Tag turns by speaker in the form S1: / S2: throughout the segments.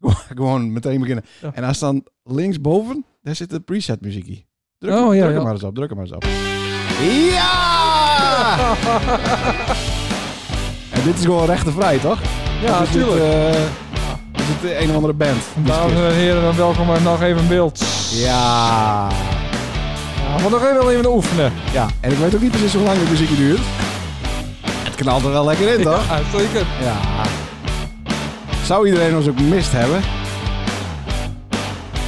S1: gewoon meteen beginnen.
S2: Ja.
S1: En als dan linksboven, daar zit de preset muziekje. Druk,
S2: Oh,
S1: hem-
S2: ja,
S1: druk
S2: ja.
S1: hem maar eens op, druk hem maar eens op. Ja! en dit is gewoon rechtenvrij, toch?
S2: Ja,
S1: Dit is niet,
S2: natuurlijk.
S1: eh, Dit is de een of andere band.
S2: Dames en heren, dan welkom bij nog even in beeld.
S1: Ja.
S2: Ja, maar nog even even oefenen.
S1: Ja, en ik weet ook niet precies hoe lang de muziekje duurt. Het knalt er wel lekker in, toch?
S2: Ja, zeker.
S1: Ja. Zou iedereen ons ook mist hebben?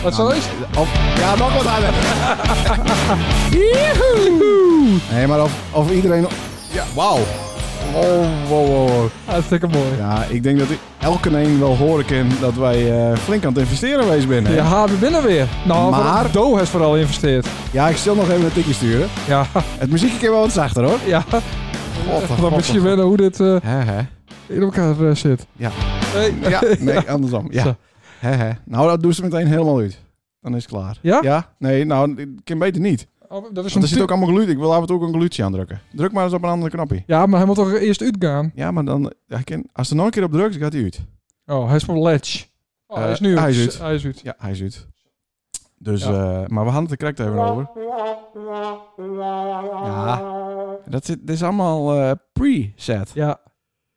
S2: Wat zo is?
S1: Of, ja, nog wat harder. Joehoe. nee, maar of, of iedereen... Ja, wauw. Oh, wow, wow, wow.
S2: Hartstikke mooi. Ja,
S1: Ja, ik denk dat ik elke een wel horen kan dat wij eh, flink aan het investeren geweest binnen. Ja.
S2: we binnen weer. Nou,
S1: Maar-
S2: maar... Do heeft vooral geïnvesteerd.
S1: ik stel nog even een tikje sturen.
S2: Ja,
S1: Het muziekje kan wel wat zachter, hoor.
S2: ja.
S1: God,
S2: Dan moet je wennen hoe dit eh,
S1: Hè, hè.
S2: in elkaar eh, zit.
S1: Ja.
S2: Hey.
S1: Ja, nee, andersom.
S2: Zo.
S1: Ja. Hè, hè. Nou, dat doen ze meteen helemaal uit. Dan is het klaar.
S2: Ja?
S1: Ja? Nee, nou, ik kan beter niet.
S2: Oh, dat is een
S1: Want er zit
S2: tu-
S1: ook allemaal geluid. Ik wil af en toe ook een geluidje aandrukken. Druk maar eens op een andere knopje.
S2: Ja, maar hij moet toch eerst uitgaan?
S1: Ja, maar dan... Hij kan, als er nog een keer op drukt, gaat hij uit.
S2: Oh, hij is op ledge. Oh, hij
S1: Eh,
S2: is nu
S1: hij
S2: uit.
S1: is uit.
S2: Hij is uit.
S1: Ja, hij is uit. Dus,
S2: Ja.
S1: eh, maar we hadden het er correct even over. Ja. Dat zit, dit is allemaal eh, preset.
S2: Ja.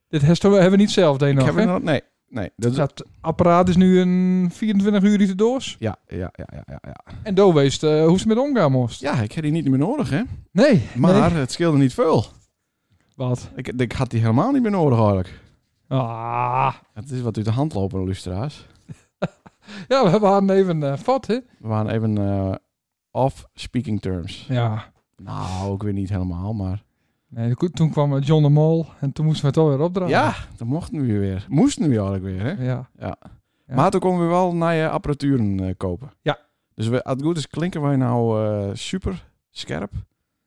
S2: Dit hesto hebben we niet zelf, deed
S1: Ik
S2: nog.
S1: heb
S2: hè?
S1: er nog... Nee, nee. Dat is, ja.
S2: Dat apparaat is nu een 24 uur uit de doos.
S1: Ja, ja, ja, ja, ja.
S2: En Doe wees eh, hoe ze met omgaan moest.
S1: Ja, ik heb die niet meer nodig, hè.
S2: Nee.
S1: Maar
S2: nee.
S1: het scheelde niet veel.
S2: Wat?
S1: Ik, ik had die helemaal niet meer nodig, eigenlijk.
S2: Ah.
S1: Het is wat uit de hand lopen, lustra's.
S2: Ja, we hebben even eh vat, hè?
S1: We waren even eh, off speaking terms.
S2: Ja.
S1: Nou, ik weet niet helemaal, maar...
S2: Nee, ko- toen kwam eh, John de Mol en toen moesten we het alweer opdragen.
S1: Ja, dat mochten we weer. Moesten we eigenlijk weer, hè?
S2: Ja. Ja.
S1: Maar toen konden we wel nieuwe apparaturen eh, kopen.
S2: Ja.
S1: Dus we, als het goed is klinken wij nou eh, super scherp.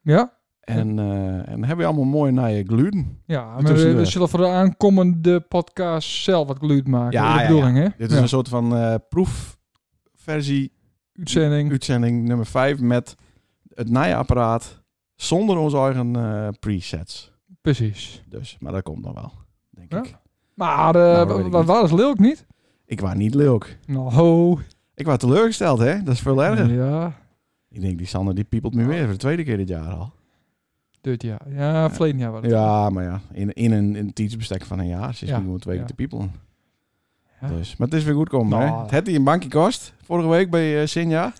S2: Ja?
S1: En, eh, en hebben we allemaal mooie nieuwe gluten.
S2: Ja, maar we,
S1: Tussendoor.
S2: we zullen voor de aankomende podcast zelf wat geluid maken.
S1: Ja,
S2: Ja, de
S1: ja,
S2: bedoeling, hè?
S1: Dit is
S2: Ja.
S1: een soort van eh, proefversie,
S2: uitzending.
S1: uitzending nummer 5 met het nieuwe apparaat zonder onze eigen eh, presets.
S2: Precies.
S1: Dus, maar dat komt dan wel, denk
S2: Ja?
S1: ik.
S2: Maar
S1: Nou, weet ik
S2: eh wat
S1: niet.
S2: was leuk niet?
S1: Ik was niet leuk.
S2: Nou, ho.
S1: Ik was teleurgesteld, hè? Dat is veel erger.
S2: Ja,
S1: Ik denk, die Sander die piepelt me weer voor de tweede keer dit jaar al.
S2: dit jaar. Ja, verleden jaar was het.
S1: Ja, maar ja, in, in een, in een tijdsbestek van een jaar zit
S2: Ja,
S1: ja. gewoon twee keer
S2: ja.
S1: te piepelen.
S2: Ja.
S1: Dus, maar het is weer goed komen, hè?
S2: Nou.
S1: Het had hij een bankje kost, vorige week bij eh Sinja.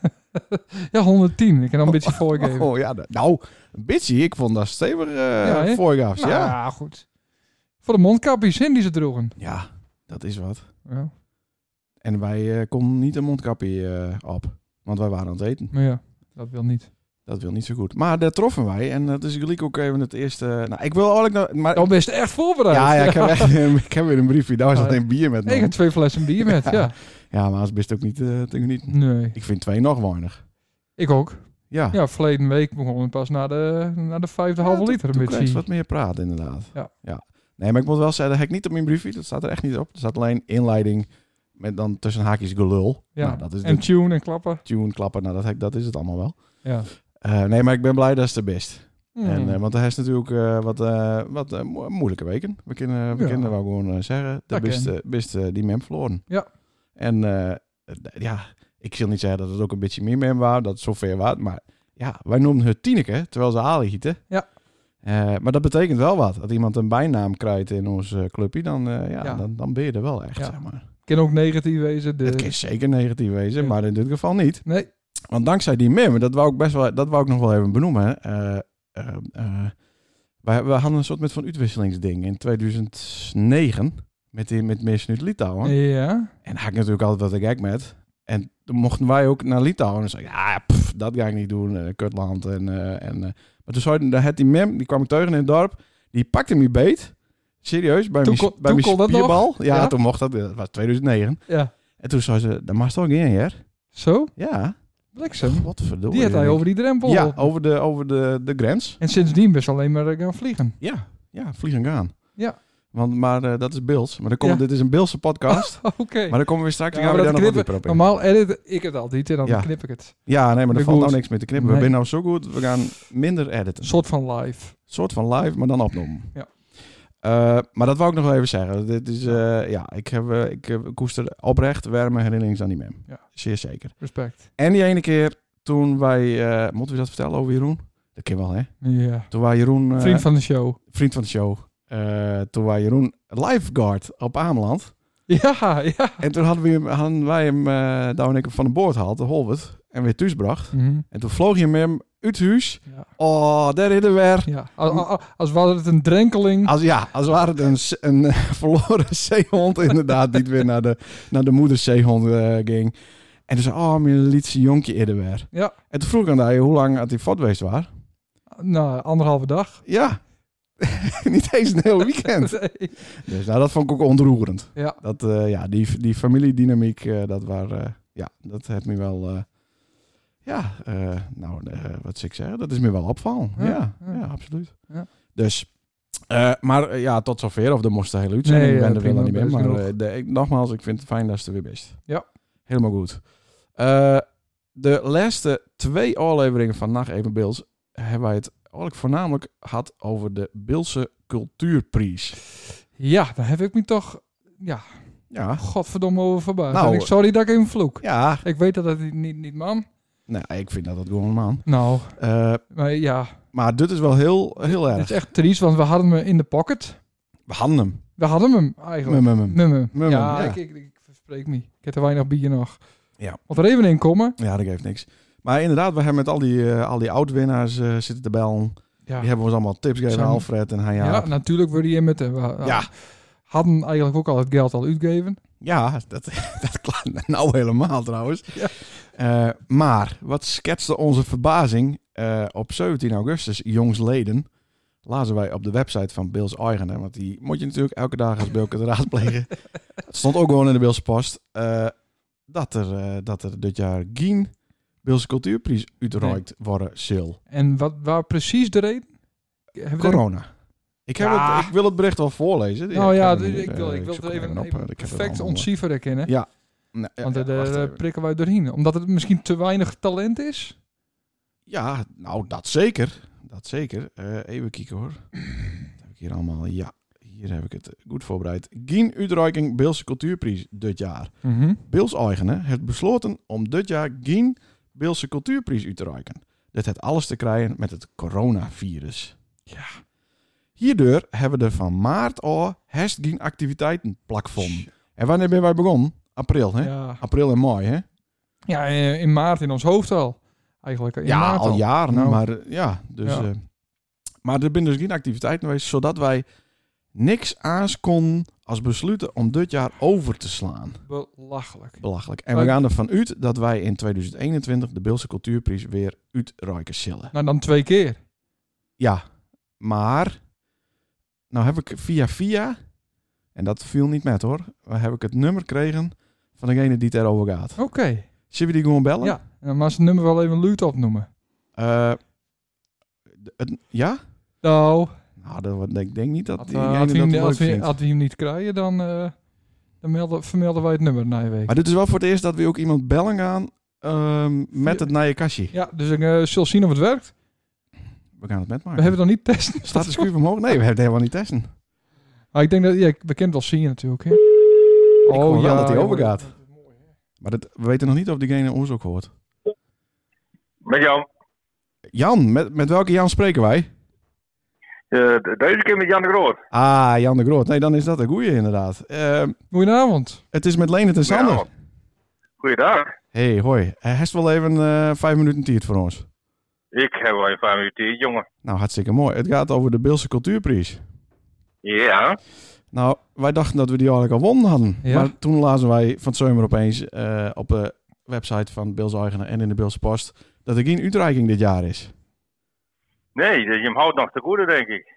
S2: Ja, 110. Ik kan dan een beetje voorgeven.
S1: Oh ja, dat- nou, een beetje. Ik vond dat stevig eh
S2: hè?
S1: voorgaafs,
S2: Nou,
S1: ja.
S2: ja, goed. Voor de mondkapjes in die ze droegen.
S1: Ja, dat is wat.
S2: Ja,
S1: En wij eh, konden niet een mondkapje eh, op, want wij waren aan het eten.
S2: maar ja, dat wil niet.
S1: Dat wil niet zo goed. Maar daar troffen wij en eh, dat is gelijk ook even het eerste... Nou, ik wil eigenlijk... nou- maar,
S2: Dan ben je echt voorbereid.
S1: ja, ja, ik heb, echt, ik heb weer een briefje. Daar was
S2: eh. Oh, Ja.
S1: dat een bier met
S2: Nee, ik
S1: me.
S2: heb twee flessen bier met, ja.
S1: Ja, maar dat is best ook niet eh, te genieten.
S2: Nee,
S1: Ik vind twee nog weinig.
S2: ik ook.
S1: Ja.
S2: Ja, verleden week begon het pas na de, na de vijfde halve
S1: Ja,
S2: liter een
S1: Toen kreeg ze
S2: beetje.
S1: wat meer praat, inderdaad.
S2: Ja.
S1: Nee, maar ik moet wel zeggen, dat heb ik niet op mijn briefje. Dat staat er echt niet op. Er staat alleen inleiding met dan tussen haakjes gelul.
S2: Ja,
S1: Nou, dat is
S2: en
S1: de
S2: tune en klappen.
S1: tune klappen. Nou, dat, heb ik- dat is het allemaal wel.
S2: Ja.
S1: Eh, nee, maar ik ben blij dat ze er best.
S2: Hmm.
S1: En, eh, want hij is natuurlijk eh, wat, eh, wat eh, mo- moeilijke weken. We kunnen, we
S2: Ja.
S1: kunnen wel gewoon eh, zeggen, de
S2: Dat
S1: best,
S2: kan.
S1: eh, best eh, die mem verloren.
S2: Ja.
S1: En eh, d- ja, ik zal niet zeggen dat het ook een beetje meer mem was, dat het zover was. Maar ja, wij noemden het Tineke, terwijl ze Ali hieten.
S2: Ja.
S1: Eh, maar dat betekent wel wat. Als iemand een bijnaam krijgt in ons eh, clubje, dan, eh, ja,
S2: Ja.
S1: Dan, dan ben je er wel echt,
S2: Ja.
S1: zeg maar.
S2: Kan ook negatief wezen. De...
S1: Het kan zeker negatief wezen,
S2: Ja.
S1: maar in dit geval niet.
S2: Nee,
S1: Want dankzij die mem, dat wou ik best wel, dat wou ik nog wel even benoemen. hè. Eh, eh, eh, wij, we hadden een soort met van uitwisselingsding in 2009 met die met mensen uit Litouwen.
S2: ja.
S1: En daar had ik natuurlijk altijd wat te gek met. En toen mochten wij ook naar Litouwen. En zei ik, ja, pff, dat ga ik niet doen. eh, kutland. En, eh, en, eh. Maar toen zei daar had die mem, die kwam ik tegen in het dorp. Die pakte me beet. Serieus, bij
S2: Toen
S1: mijn,
S2: kon-
S1: bij
S2: toen
S1: mijn
S2: kon dat nog?
S1: spierbal. Ja,
S2: Ja?
S1: toen mocht dat. Dat was 2009.
S2: ja.
S1: En toen zei ze, dat mag toch geen, hè?
S2: Zo,
S1: Ja.
S2: bliksem.
S1: Wat verdorie.
S2: Die had hij over die drempel.
S1: Ja, oh.
S2: geholpen.
S1: over de, over de, de grens.
S2: En sindsdien best alleen maar eh, gaan vliegen.
S1: Ja, ja vliegen gaan.
S2: Ja.
S1: Want, maar eh, dat is Beels. Maar dan komt,
S2: Ja.
S1: dit is een Beelse podcast.
S2: Oké.
S1: maar dan komen we straks
S2: Ja,
S1: gaan we
S2: maar
S1: daar
S2: dat
S1: nog wat
S2: knippen-
S1: dieper op in.
S2: Normaal edit ik het altijd en dan
S1: Ja.
S2: knip ik het.
S1: Ja, nee, maar
S2: Weer
S1: er valt
S2: goed.
S1: nou niks meer te knippen.
S2: Nee.
S1: We zijn nou zo goed, we gaan minder editen.
S2: Een
S1: Een
S2: soort van live.
S1: soort van live, maar dan opnemen.
S2: Ja.
S1: Eh, maar dat wou ik nog wel even zeggen. Dit is, eh, ja, ik, heb, eh, ik eh, koester oprecht warme herinneringen aan die mem.
S2: Ja.
S1: Zeer zeker.
S2: Respect.
S1: En die ene keer toen wij... eh, moeten we dat vertellen over Jeroen? Dat kan wel, hè?
S2: Ja.
S1: Toen wij Jeroen... eh,
S2: Vriend van de show.
S1: vriend van de show. eh, toen wij Jeroen lifeguard op Ameland.
S2: Ja, ja.
S1: En toen hadden, we, hem- hadden wij hem, eh Douw en ik, hem van de boord gehaald, de Holwert. En weer thuisbracht.
S2: Mhm.
S1: En toen vloog je hem hem uit huis.
S2: Ja.
S1: Oh, daar is er weer.
S2: ja. Als, als, als was het een drenkeling.
S1: Als, ja, als waren het een, z- een eh, verloren zeehond inderdaad, die het weer naar de, naar de moeder zeehond eh, ging. En toen zei oh, mijn lietse jonkje is er weer.
S2: Ja.
S1: En toen vroeg ik aan hij hoe lang had hij fotweest waar?
S2: Nou, anderhalve dag.
S1: Ja, niet eens een heel weekend.
S2: Nee.
S1: Dus nou, dat vond ik ook ontroerend.
S2: Ja.
S1: Dat, eh, ja, die, die familiedynamiek, eh, dat waar, eh, ja, dat heeft me wel, eh, ja, eh, nou, eh, wat zou ik zeggen, dat is me wel opvallen. Ja,
S2: Ja,
S1: ja,
S2: ja.
S1: absoluut.
S2: Ja.
S1: Dus, eh, maar eh, ja, tot zover, of de moest de hele uitzending,
S2: Nee,
S1: ik ben
S2: ja,
S1: er wel
S2: prima,
S1: niet meer,
S2: dat is
S1: maar
S2: genoeg.
S1: eh, de- ik- nogmaals, ik vind het fijn dat ze er weer best.
S2: Ja.
S1: Helemaal goed. Eh, de laatste twee afleveringen van Nacht Even Beels hebben wij het eigenlijk voornamelijk gehad over de Beelse Cultuurprijs.
S2: ja, daar heb ik me toch... Ja,
S1: Ja.
S2: godverdomme over verbaasd.
S1: Nou,
S2: En ik, sorry dat ik even vloek.
S1: Ja,
S2: Ik weet dat dat niet, niet, niet man.
S1: nou, ik vind dat dat gewoon man.
S2: Nou,
S1: Eh,
S2: maar ja.
S1: maar dit is wel heel, heel
S2: Het
S1: erg.
S2: is echt triest, want we hadden hem in de pocket.
S1: We hadden hem.
S2: We hadden hem eigenlijk.
S1: Mum, mum, mum.
S2: Mum, mum.
S1: Mum,
S2: Ja,
S1: ja.
S2: Ik, ik, ik verspreek me. Ik heb te weinig bier nog.
S1: Ja.
S2: Moet er even in komen.
S1: Ja, dat geeft niks. Maar inderdaad, we hebben met al die, eh, al die oud-winnaars eh, zitten te bellen.
S2: Ja,
S1: Die hebben ons allemaal tips gegeven.
S2: Zijn-
S1: Alfred en hij.
S2: ja.
S1: Ja,
S2: natuurlijk worden die in met hem. We
S1: Ja.
S2: hadden eigenlijk ook al het geld al uitgegeven.
S1: ja dat, dat klaar. Nou helemaal trouwens.
S2: Ja.
S1: Eh, maar wat schetste onze verbazing eh, op 17 augustus, jongsleden, lazen wij op de website van Bills Eigen. Hè, want die moet je natuurlijk elke dag als Bill kunnen raadplegen. Het stond ook gewoon in de Bills Post eh, dat, er, eh, dat er dit jaar geen Bills Cultuurprijs uitreikt worden zal.
S2: En wat waar precies de reden? Hebben we er-
S1: Corona. Ik, heb
S2: Ja.
S1: het, ik wil het bericht wel voorlezen.
S2: nou ja,
S1: heb hem
S2: d-
S1: hier,
S2: ik wil,
S1: eh,
S2: ik wil het
S1: zoek hem
S2: even,
S1: op,
S2: even
S1: eh, ik heb het
S2: perfect
S1: allemaal.
S2: ontcijferen kennen.
S1: Ja, Nou, ja,
S2: want
S1: ja,
S2: eh, daar
S1: wacht
S2: eh,
S1: even.
S2: prikken wij doorheen. Omdat het misschien te weinig talent is.
S1: Ja, nou, dat zeker. Dat zeker. Eh, even kijken hoor. Wat heb ik hier allemaal? Ja, hier heb ik het eh, goed voorbereid. Geen uitreiking Beelse Cultuurprijs dit jaar. Beels eigenen heeft besloten om dit jaar geen Beelse Cultuurprijs uit te reiken. Dit heeft alles te krijgen met het coronavirus.
S2: Ja.
S1: Hierdoor hebben we er van maart al herst geen activiteiten plakvonden. En wanneer ben wij begonnen? April, hè?
S2: Ja.
S1: April en mei, hè?
S2: ja, eh, in maart in ons hoofd al. Eigenlijk eh, in
S1: Ja,
S2: maart
S1: al jaren.
S2: Nou.
S1: Maar eh, ja, dus.
S2: Ja.
S1: eh, maar er zijn dus geen activiteiten geweest, zodat wij niks aans konden als besluiten om dit jaar over te slaan.
S2: Belachelijk.
S1: Belachelijk. En we
S2: Maar-
S1: gaan ervan uit dat wij in 2021 de Beelse Cultuurprijs weer uitreiken zullen.
S2: Nou, dan twee keer.
S1: Ja, maar. Nou heb ik via via, en dat viel niet met hoor, maar heb ik het nummer gekregen van degene die het erover gaat.
S2: Oké.
S1: Zullen we die gewoon bellen?
S2: Ja, en dan mag ze het nummer wel even luid opnoemen.
S1: Eh, het, ja?
S2: Nou,
S1: Nou, dat, wordt- ik denk niet dat
S2: had,
S1: die
S2: eh, had hij
S1: dat
S2: hem-
S1: leuk
S2: als we-
S1: vindt.
S2: had hij hem niet krijgen, dan, eh, dan melden, vermelden wij het nummer na je week.
S1: Maar dit is wel voor het eerst dat we ook iemand bellen gaan ehm, met het naar je kastje.
S2: Ja, dus ik eh, zal zien of het werkt.
S1: We gaan het met
S2: We
S1: maken.
S2: hebben Oh, het nog niet testen.
S1: Staat de schuur omhoog? Nee, we hebben het helemaal niet testen.
S2: Maar Ah, ik denk dat, ja, we kennen het wel zien natuurlijk. Hè? Oh,
S1: Ik hoor wel dat hij
S2: ja,
S1: overgaat. Maar dat, we weten nog niet of diegene ons ook hoort.
S3: Met Jan.
S1: Jan, met, met welke Jan spreken wij?
S3: Eh, de- deze keer met Jan de Groot.
S1: Ah, Jan de Groot. Nee, dan is dat een goeie inderdaad. Ehm,
S2: Goedenavond.
S1: het is met Leendert en Sander.
S3: Ja. Goeiedag.
S1: hey, hoi. Eh, Heeft wel even eh, vijf minuten tijd voor ons?
S3: Ik heb wel een paar minuten hier, jongen.
S1: Nou, hartstikke mooi. Het gaat over de Beelse Cultuurprijs.
S3: Ja.
S1: Nou, wij dachten dat we die eigenlijk al wonnen hadden.
S2: Ja.
S1: Maar toen lazen wij van het zomer opeens eh, op de website van Bills Eigenaar en in de Bills Post dat er geen uitreiking dit jaar is.
S3: Nee, dus je hem houdt nog te goede, denk ik.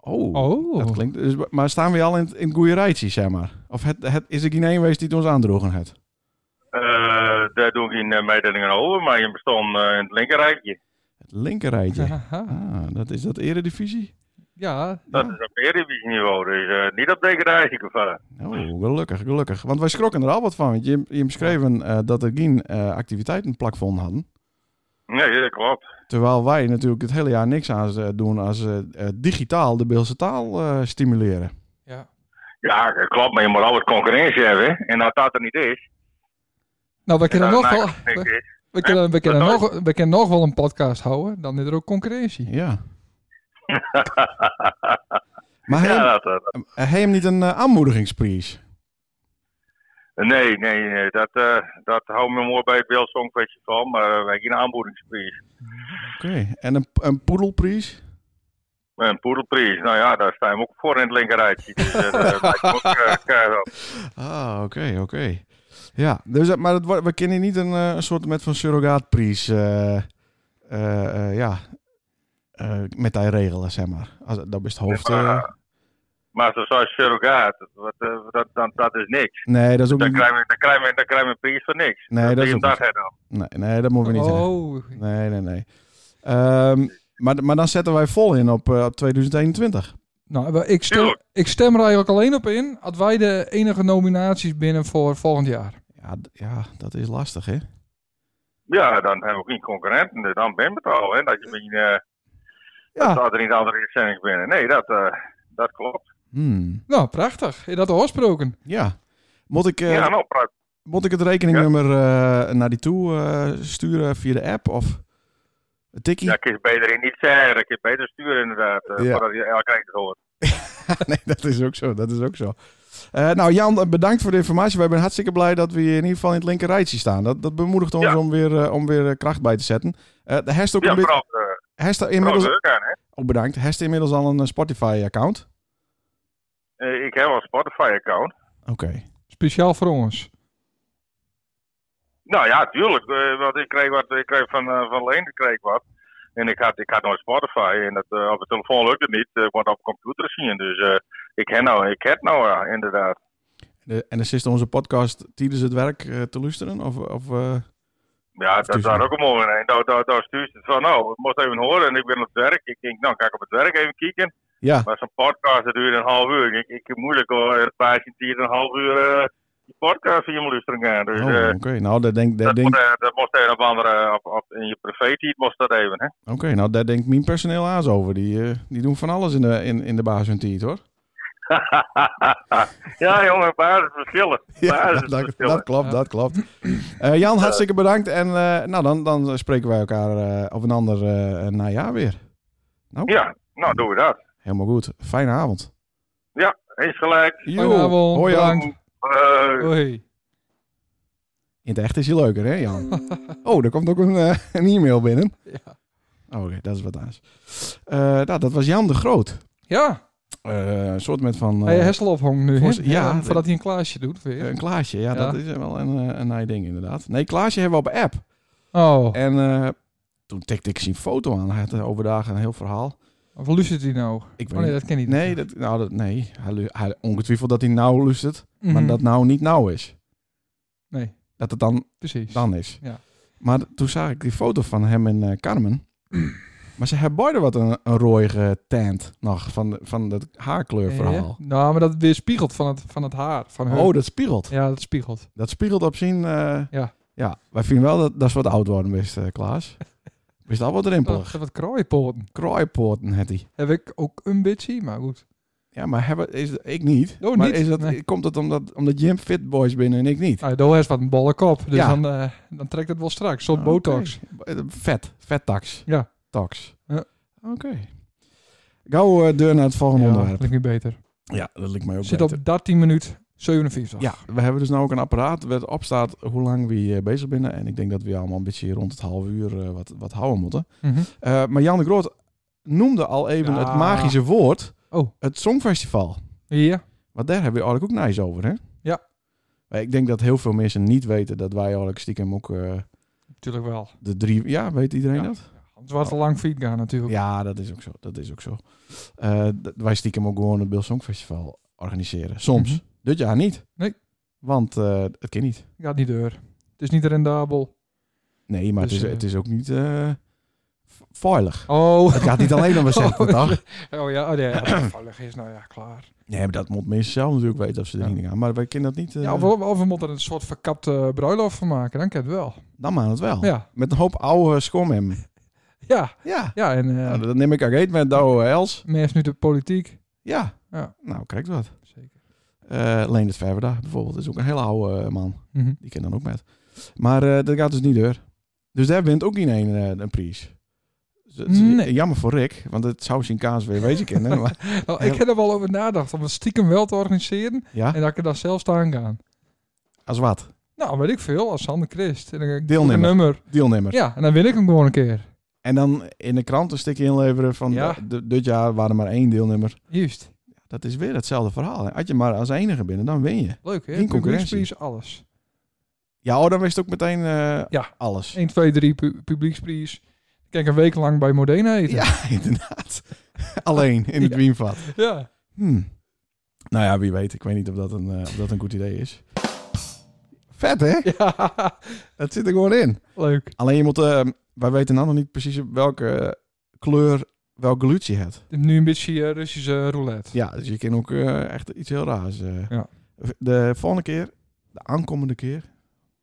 S1: Oh,
S2: Oh.
S1: dat klinkt. Dus, maar staan we al in, het- in het goede rijtje, zeg maar? Of het, het, is er geen een geweest die het ons aandrogen heeft?
S3: Eh, daar doe ik geen eh, mededelingen over, maar je bestond eh, in het linkerrijtje.
S1: Het linker rijtje.
S2: Haha.
S1: Ah, dat is dat eredivisie?
S2: Ja,
S3: Dat is op Eredivisie-niveau, dus eh, niet op linkerrijtje gevallen.
S1: Oh, gelukkig, gelukkig. Want wij schrokken er al wat van. Want je, je beschreven eh, dat er geen eh, activiteiten plakvond hadden.
S3: Nee, dat klopt.
S1: Terwijl wij natuurlijk het hele jaar niks aan eh, doen als eh, eh, digitaal de Beelse taal eh, stimuleren.
S2: Ja.
S3: Ja, dat klopt, maar je moet altijd concurrentie hebben. En als dat er niet is,
S2: Nou, we kunnen
S3: dan
S2: nog
S3: maakt
S2: wel...
S3: het niks
S2: We,
S3: uit.
S2: we kunnen, we, kunnen
S3: dat
S2: nog, we kunnen nog wel een podcast houden. Dan is er ook concurrentie.
S1: Ja. maar
S3: Ja,
S1: hij
S3: dat, dat-
S1: hij hem niet een eh, aanmoedigingsprijs?
S3: nee, nee, nee, dat, eh dat houdt me mooi bij het Beeld Songfestival, maar eh, wij hebben geen aanboedingsprijs.
S1: Oké. En een, een poedelprijs?
S3: Een poedelprijs, nou ja, daar sta je hem ook voor in het linkerrijtje. Dus, eh, dat lijkt me ook, eh, keihard op.
S1: Ah, oké, oké. Ja, dus, dat- maar dat, wordt- we kennen niet een, eh, een soort met van surrogaatprijs. eh, eh, eh, ja. Eh, met die regelen, zeg maar. Als, dat is het hoofd.
S3: Ja,
S1: eh.
S3: maar zo- zoals surrogaat, wat, eh, dat, dat, dat is niks.
S1: nee, dat is ook
S3: Dan
S1: niet.
S3: krijg je, dan krijg je, dan krijg je een prijs voor niks.
S1: Mm. Nee, dat is
S3: je
S1: ook
S3: hem
S1: niet.
S3: daar dan.
S1: Nee, nee, dat moeten we niet hebben.
S2: Oh,
S1: Nee, nee, nee. Ehm, maar, maar dan zetten wij vol in op, eh, op 2021.
S2: nou, we- ik stem,
S3: Tuurlijk.
S2: ik stem er eigenlijk alleen op in... als wij de enige nominaties binnen voor volgend jaar.
S1: Ja, d- ja, dat is lastig, hè?
S3: Ja, dan hebben we geen concurrenten, dus dan ben je het al. Hè, dat je misschien, eh,
S1: Ja.
S3: dat er niet andere instellingen binnen. Nee, dat, eh, dat klopt.
S1: Hmm.
S2: Nou, prachtig. Is dat afgesproken?
S1: Ja. Moet ik, eh,
S3: Ja, nou, pra-
S1: moet ik het rekeningnummer eh, naar die toe eh, sturen via de app of een tikkie?
S3: ja, kun je beter in niet zeggen. Dat kun je beter sturen, inderdaad. eh,
S1: Ja.
S3: Voordat je elke het hoort.
S1: nee, dat is ook zo. Dat is ook zo. Eh, nou, Jan, eh, bedankt voor de informatie. Wij zijn hartstikke blij dat we hier in ieder geval in het linker rijtje staan. Dat, dat bemoedigt ons
S3: Ja.
S1: om, weer, eh, om weer eh, kracht bij te zetten. Eh de herst ook
S3: Ja,
S1: een beetje.
S3: vooral, eh,
S1: Herst
S3: vooral
S1: inmiddels,
S3: leuk aan, hè.
S1: oh, bedankt. Herst inmiddels al een eh, Spotify-account.
S3: Eh, ik heb al een Spotify-account.
S1: Oké.
S2: Speciaal voor ons.
S3: Nou ja, tuurlijk. eh, want ik kreeg, wat, ik kreeg van, eh, van Leen kreeg ik wat. En ik had, ik had nooit Spotify. En dat, eh, op de telefoon lukt het niet. eh, want op de computer zien. Dus eh, ik heb nou, ik heb nou ja, inderdaad.
S1: De- en dan zit onze podcast tijdens het werk eh, te luisteren? Of, of, eh,
S3: Ja, dat is
S1: tussen.
S3: daar ook een mooi in. Daar, daar, daar stuurt het van, nou, ik moest even horen. En ik ben op het werk. Ik denk, nou, kan ik op het werk even kijken.
S1: ja,
S3: Maar zo'n podcast, dat duurt een half uur. Ik, ik heb moeilijk hoor. Een paasje hier een half uur eh, die podcast van je moet luisteren gaan. Dus
S1: Oh,
S3: eh,
S1: oké. Nou, daar denk, daar
S3: dat, moet,
S1: denk,
S3: eh, dat moest even op andere, op, op- in je privé-tijd moest dat even, hè.
S1: oké, nou, daar denkt mijn personeel aan over. Die, eh, die doen van alles in de, in, in de baas hun tiet, hoor.
S3: ja, jongen, basisverschillen.
S1: dat, dat-
S3: Basisverschillen.
S1: dat klopt,
S2: Ja.
S1: dat klopt. Eh, Jan, hartstikke bedankt. En eh, nou, dan, dan spreken wij elkaar eh op een ander eh najaar weer. Nou,
S3: Ja, nou doen we dat.
S1: helemaal goed. Fijne avond.
S3: Ja, eens gelijk.
S1: Jo,
S2: avond,
S1: hoi Jan.
S2: bedankt.
S3: Eh,
S2: Hoi.
S1: In het echt is je leuker, hè Jan? oh, er komt ook een, eh, een e-mail binnen.
S2: Ja.
S1: Oh, oké, dat is wat anders. Eh, nou, dat was Jan de Groot.
S2: ja.
S1: Eh, een soort met van... eh,
S2: Ah, Hij Hessel ophongt nu.
S1: voor-
S2: hè?
S1: ja,
S2: Ja, voordat hij een klaasje doet weer.
S1: Een Klaasje, ja,
S2: Ja.
S1: dat is wel een, eh, een naai ding inderdaad. Nee, Klaasje hebben we op app.
S2: Oh,
S1: En eh, toen tikte ik zijn foto aan. Hij had eh, overdag een heel verhaal.
S2: of luistert hij nou?
S1: Ik weet
S2: Oh nee,
S1: niet.
S2: dat ken ik niet.
S1: Nee, dat, nou, dat, nee. Hij, lu- hij, ongetwijfeld dat hij nauw luistert.
S2: Mhm.
S1: Maar dat nou niet nauw is.
S2: Nee,
S1: Dat het dan,
S2: precies.
S1: dan is.
S2: Ja.
S1: Maar d- toen zag ik die foto van hem en eh, Carmen. maar ze hebben beide wat een, een rooige tent nog. Van, de- van dat haarkleurverhaal.
S2: Eh, Nou, maar dat weerspiegelt van het, van het haar. Van haar.
S1: Oh, dat spiegelt.
S2: Ja, dat spiegelt.
S1: Dat spiegelt op zien. eh,
S2: Ja.
S1: ja. Wij vinden wel dat, dat is wat oud worden, best, eh, Klaas. Best al wat
S2: Dat
S1: rimpelig.
S2: zijn wat kraaipoten.
S1: Kraaipoorten had hij.
S2: Heb ik ook een beetje, maar goed.
S1: Ja, maar hebben, is, ik niet.
S2: Oh,
S1: maar
S2: niet?
S1: Is dat,
S2: Nee.
S1: Komt het omdat, omdat Jim fit boys binnen en ik niet?
S2: Nou, Doha is wat een ballenkop. Dus
S1: Ja.
S2: dan, eh, dan trekt het wel straks. Zo'n
S1: Oké.
S2: botox.
S1: Eh, Vet. Vet tax.
S2: Ja.
S1: Tax.
S2: Ja.
S1: Oké. Gauw eh, deur naar het volgende
S2: ja,
S1: onderwerp.
S2: lijkt me beter.
S1: Ja, dat lijkt mij ook
S2: Zit
S1: beter.
S2: op 13 minuut 57.
S1: Ja, we hebben dus nou ook een apparaat waar op staat hoe lang we hier bezig binnen. En ik denk dat we allemaal een beetje rond het half uur eh, wat, wat houden moeten.
S2: Mhm.
S1: Eh, maar Jan de Groot noemde al even
S2: Ja.
S1: het magische woord.
S2: Oh.
S1: Het Songfestival.
S2: Ja.
S1: Want daar hebben we eigenlijk ook nice over, hè?
S2: Ja.
S1: Maar ik denk dat heel veel mensen niet weten dat wij eigenlijk stiekem ook eh,
S2: natuurlijk wel.
S1: de drie... Ja, weet iedereen
S2: Ja.
S1: dat?
S2: Anders was het een lang feed gaan natuurlijk.
S1: Ja, dat is ook zo. Dat is ook zo. Eh, d- wij stiekem ook gewoon het Bill Songfestival organiseren. Soms.
S2: Mhm.
S1: Dit jaar niet.
S2: Nee.
S1: Want eh, het kan niet.
S2: Gaat niet deur. Het is niet rendabel.
S1: Nee, maar
S2: Dus,
S1: het, is,
S2: eh,
S1: het is ook niet eh, veilig.
S2: Oh.
S1: Het gaat niet alleen om een centen, toch?
S2: Oh ja, oh ja, ja. dat toevallig is nou ja, klaar.
S1: Nee, maar dat moet mensen zelf natuurlijk weten of ze erin gaan. Maar wij kennen dat niet. eh,
S2: Ja, of, we- of we moeten er een soort verkapte bruiloft van maken, dan kan het wel.
S1: Dan maar het wel.
S2: Ja,
S1: Met een hoop oude schomhem.
S2: ja,
S1: Ja.
S2: ja en eh
S1: Nou, dat neem ik ook eet met Douwe Els.
S2: mensen nu de politiek.
S1: Ja.
S2: Ja.
S1: Nou, kijk wat.
S2: Zeker.
S1: Eh Leendert Verwerda bijvoorbeeld is ook een hele oude eh, man.
S2: Mhm.
S1: Die ken dan ook met. Maar eh, dat gaat dus niet door. Dus daar wint ook niet één eh, een prijs. Dus het is
S2: Nee.
S1: Jammer voor Rick, want het zou zijn kaas weer wezen kennen. Maar,
S2: Nou, ik heb er wel over nagedacht om het stiekem wel te organiseren
S1: ja,
S2: en dat ik er dan zelf staan gaan.
S1: als wat?
S2: Nou, weet ik veel, als Sander Christ. En dan doe ik
S1: Deelnemer.
S2: Een nummer.
S1: Deelnemer.
S2: Ja, en dan win ik hem gewoon een keer.
S1: En dan in de krant een stukje inleveren van
S2: Ja.
S1: d- d- dit jaar waren er maar één deelnemer.
S2: Juist.
S1: Dat is weer hetzelfde verhaal. hè. Had je maar als enige binnen, dan win je.
S2: Leuk, hè?
S1: Geen concurrentie.
S2: Publieksprijs, alles.
S1: Ja, oh, dan wist ook meteen eh,
S2: Ja.
S1: alles.
S2: 1, 2, 3, pu- publieksprijs. Ik kan een week lang bij Modena eten.
S1: Ja, inderdaad. Alleen in het
S2: Ja.
S1: wienvat.
S2: Ja.
S1: Hm. Nou ja, wie weet. Ik weet niet of dat een, eh, of dat een goed idee is. Vet, hè?
S2: Ja.
S1: Dat zit er gewoon in.
S2: Leuk.
S1: Alleen je moet... eh, wij weten nou nog niet precies welke eh, kleur welk geluid je hebt.
S2: Nu een beetje eh, Russische roulette.
S1: Ja, dus je kan ook eh, echt iets heel raars. eh.
S2: Ja.
S1: De volgende keer, de aankomende keer,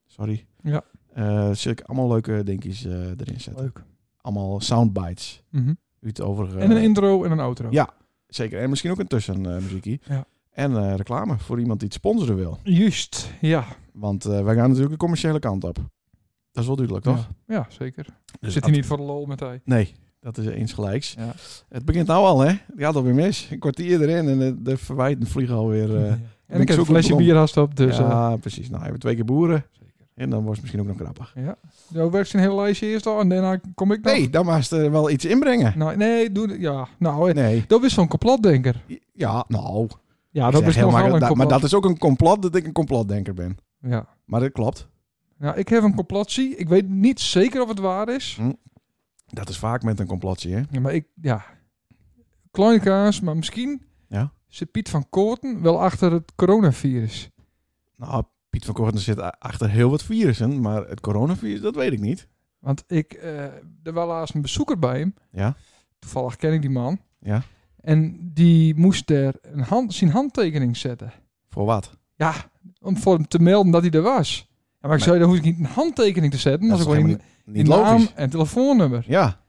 S1: sorry.
S2: Ja.
S1: eh, zul ik allemaal leuke dingetjes eh, erin zetten.
S2: Leuk.
S1: Allemaal soundbites.
S2: Mhm.
S1: Uit overige...
S2: En een intro en een outro.
S1: Eh, Ja. Zeker. En misschien ook een tussenmuziekie.
S2: Ja.
S1: En eh, reclame voor iemand die het sponsoren wil.
S2: Juist. Ja.
S1: Want eh, wij gaan natuurlijk de commerciële kant op. Dat is wel duidelijk, toch?
S2: Ja, ja, zeker.
S1: Dus
S2: Zit
S1: dat-
S2: hij niet voor de lol met hij?
S1: Nee, dat is eens gelijks.
S2: Ja.
S1: Het begint nou al, hè? Het gaat alweer mis. Een kwartier erin en de, de verwijten vliegen alweer... eh,
S2: en ik heb
S1: zo
S2: een flesje
S1: goed
S2: bier haast op, dus... eh,
S1: ja, precies. Nou, hebben we twee keer boeren.
S2: zeker.
S1: En dan wordt het misschien ook nog grappig.
S2: Ja. Nou, werkt zijn hele lijstje eerst al en daarna kom ik nog.
S1: Nee, dan was er wel iets inbrengen.
S2: Nou, nee, doe... dit- Ja. Nou, eh,
S1: Nee.
S2: dat is zo'n complotdenker.
S1: Ja, nou.
S2: Ja,
S1: ik
S2: Ah, dat
S1: zeg
S2: is
S1: heel
S2: nogal
S1: makkelijk,
S2: een
S1: da-
S2: complot.
S1: maar dat is ook een complot dat ik een complotdenker ben.
S2: Ja.
S1: Maar dat klopt.
S2: Nou, ik heb een complotzie. Ik weet niet zeker of het waar is.
S1: Dat is vaak met een complotje, hè?
S2: Ja, maar ik... Ja. Kleine kaas, maar misschien...
S1: Ja.
S2: Zit Piet van Koorten wel achter het coronavirus?
S1: Nou, Piet van Korten zit a- achter heel wat virussen. Maar het coronavirus, dat weet ik niet.
S2: Want ik, eh er was laatst een bezoeker bij hem.
S1: Ja.
S2: Toevallig ken ik die man.
S1: Ja.
S2: En die moest er een hand, zijn handtekening zetten.
S1: Voor wat?
S2: Ja, om voor hem te melden dat hij er was. Ja, maar ik
S1: Nee.
S2: zei, dan hoef ik niet een handtekening te zetten. Dat is
S1: toch
S2: gewoon
S1: helemaal
S2: in,
S1: niet, niet
S2: naam
S1: logisch.
S2: en telefoonnummer.
S1: Ja,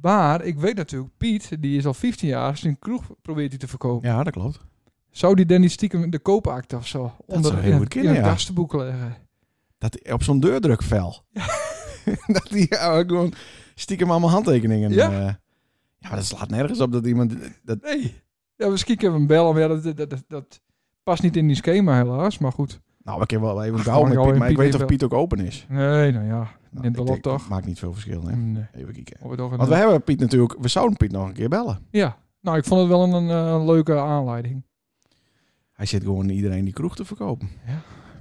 S2: Maar ik weet natuurlijk, Piet, die is al 15 jaar, zijn kroeg probeert hij te verkopen.
S1: ja, dat klopt.
S2: Zou die dan niet stiekem de koopakte of zo
S1: zou heel
S2: in,
S1: goed
S2: het,
S1: kunnen,
S2: in het
S1: ja.
S2: gastenboek leggen?
S1: Dat hij op zo'n deurdrukvel. dat hij ja, gewoon stiekem allemaal handtekeningen.
S2: Ja.
S1: eh, ja, maar dat slaat nergens op dat iemand. eh, Dat,
S2: Nee. Ja, misschien kunnen we hem bellen, maar ja, dat, dat, dat, dat past niet in die schema helaas, maar goed.
S1: nou, we kunnen wel even
S2: Ach,
S1: gauw met
S2: gewoon
S1: Piet,
S2: en
S1: maar ik
S2: Piet
S1: weet of
S2: even-
S1: Piet ook open is.
S2: Nee, nou ja.
S1: Nou,
S2: Neemt wel
S1: ik
S2: op,
S1: denk,
S2: toch?
S1: Maakt niet veel verschil, hè?
S2: Nee.
S1: Even kijken.
S2: Of we toch een-
S1: Want we hebben Piet natuurlijk, we zouden Piet nog een keer bellen.
S2: Ja. Nou, ik vond het wel een, eh, een leuke aanleiding.
S1: Hij zit gewoon iedereen die kroeg te verkopen.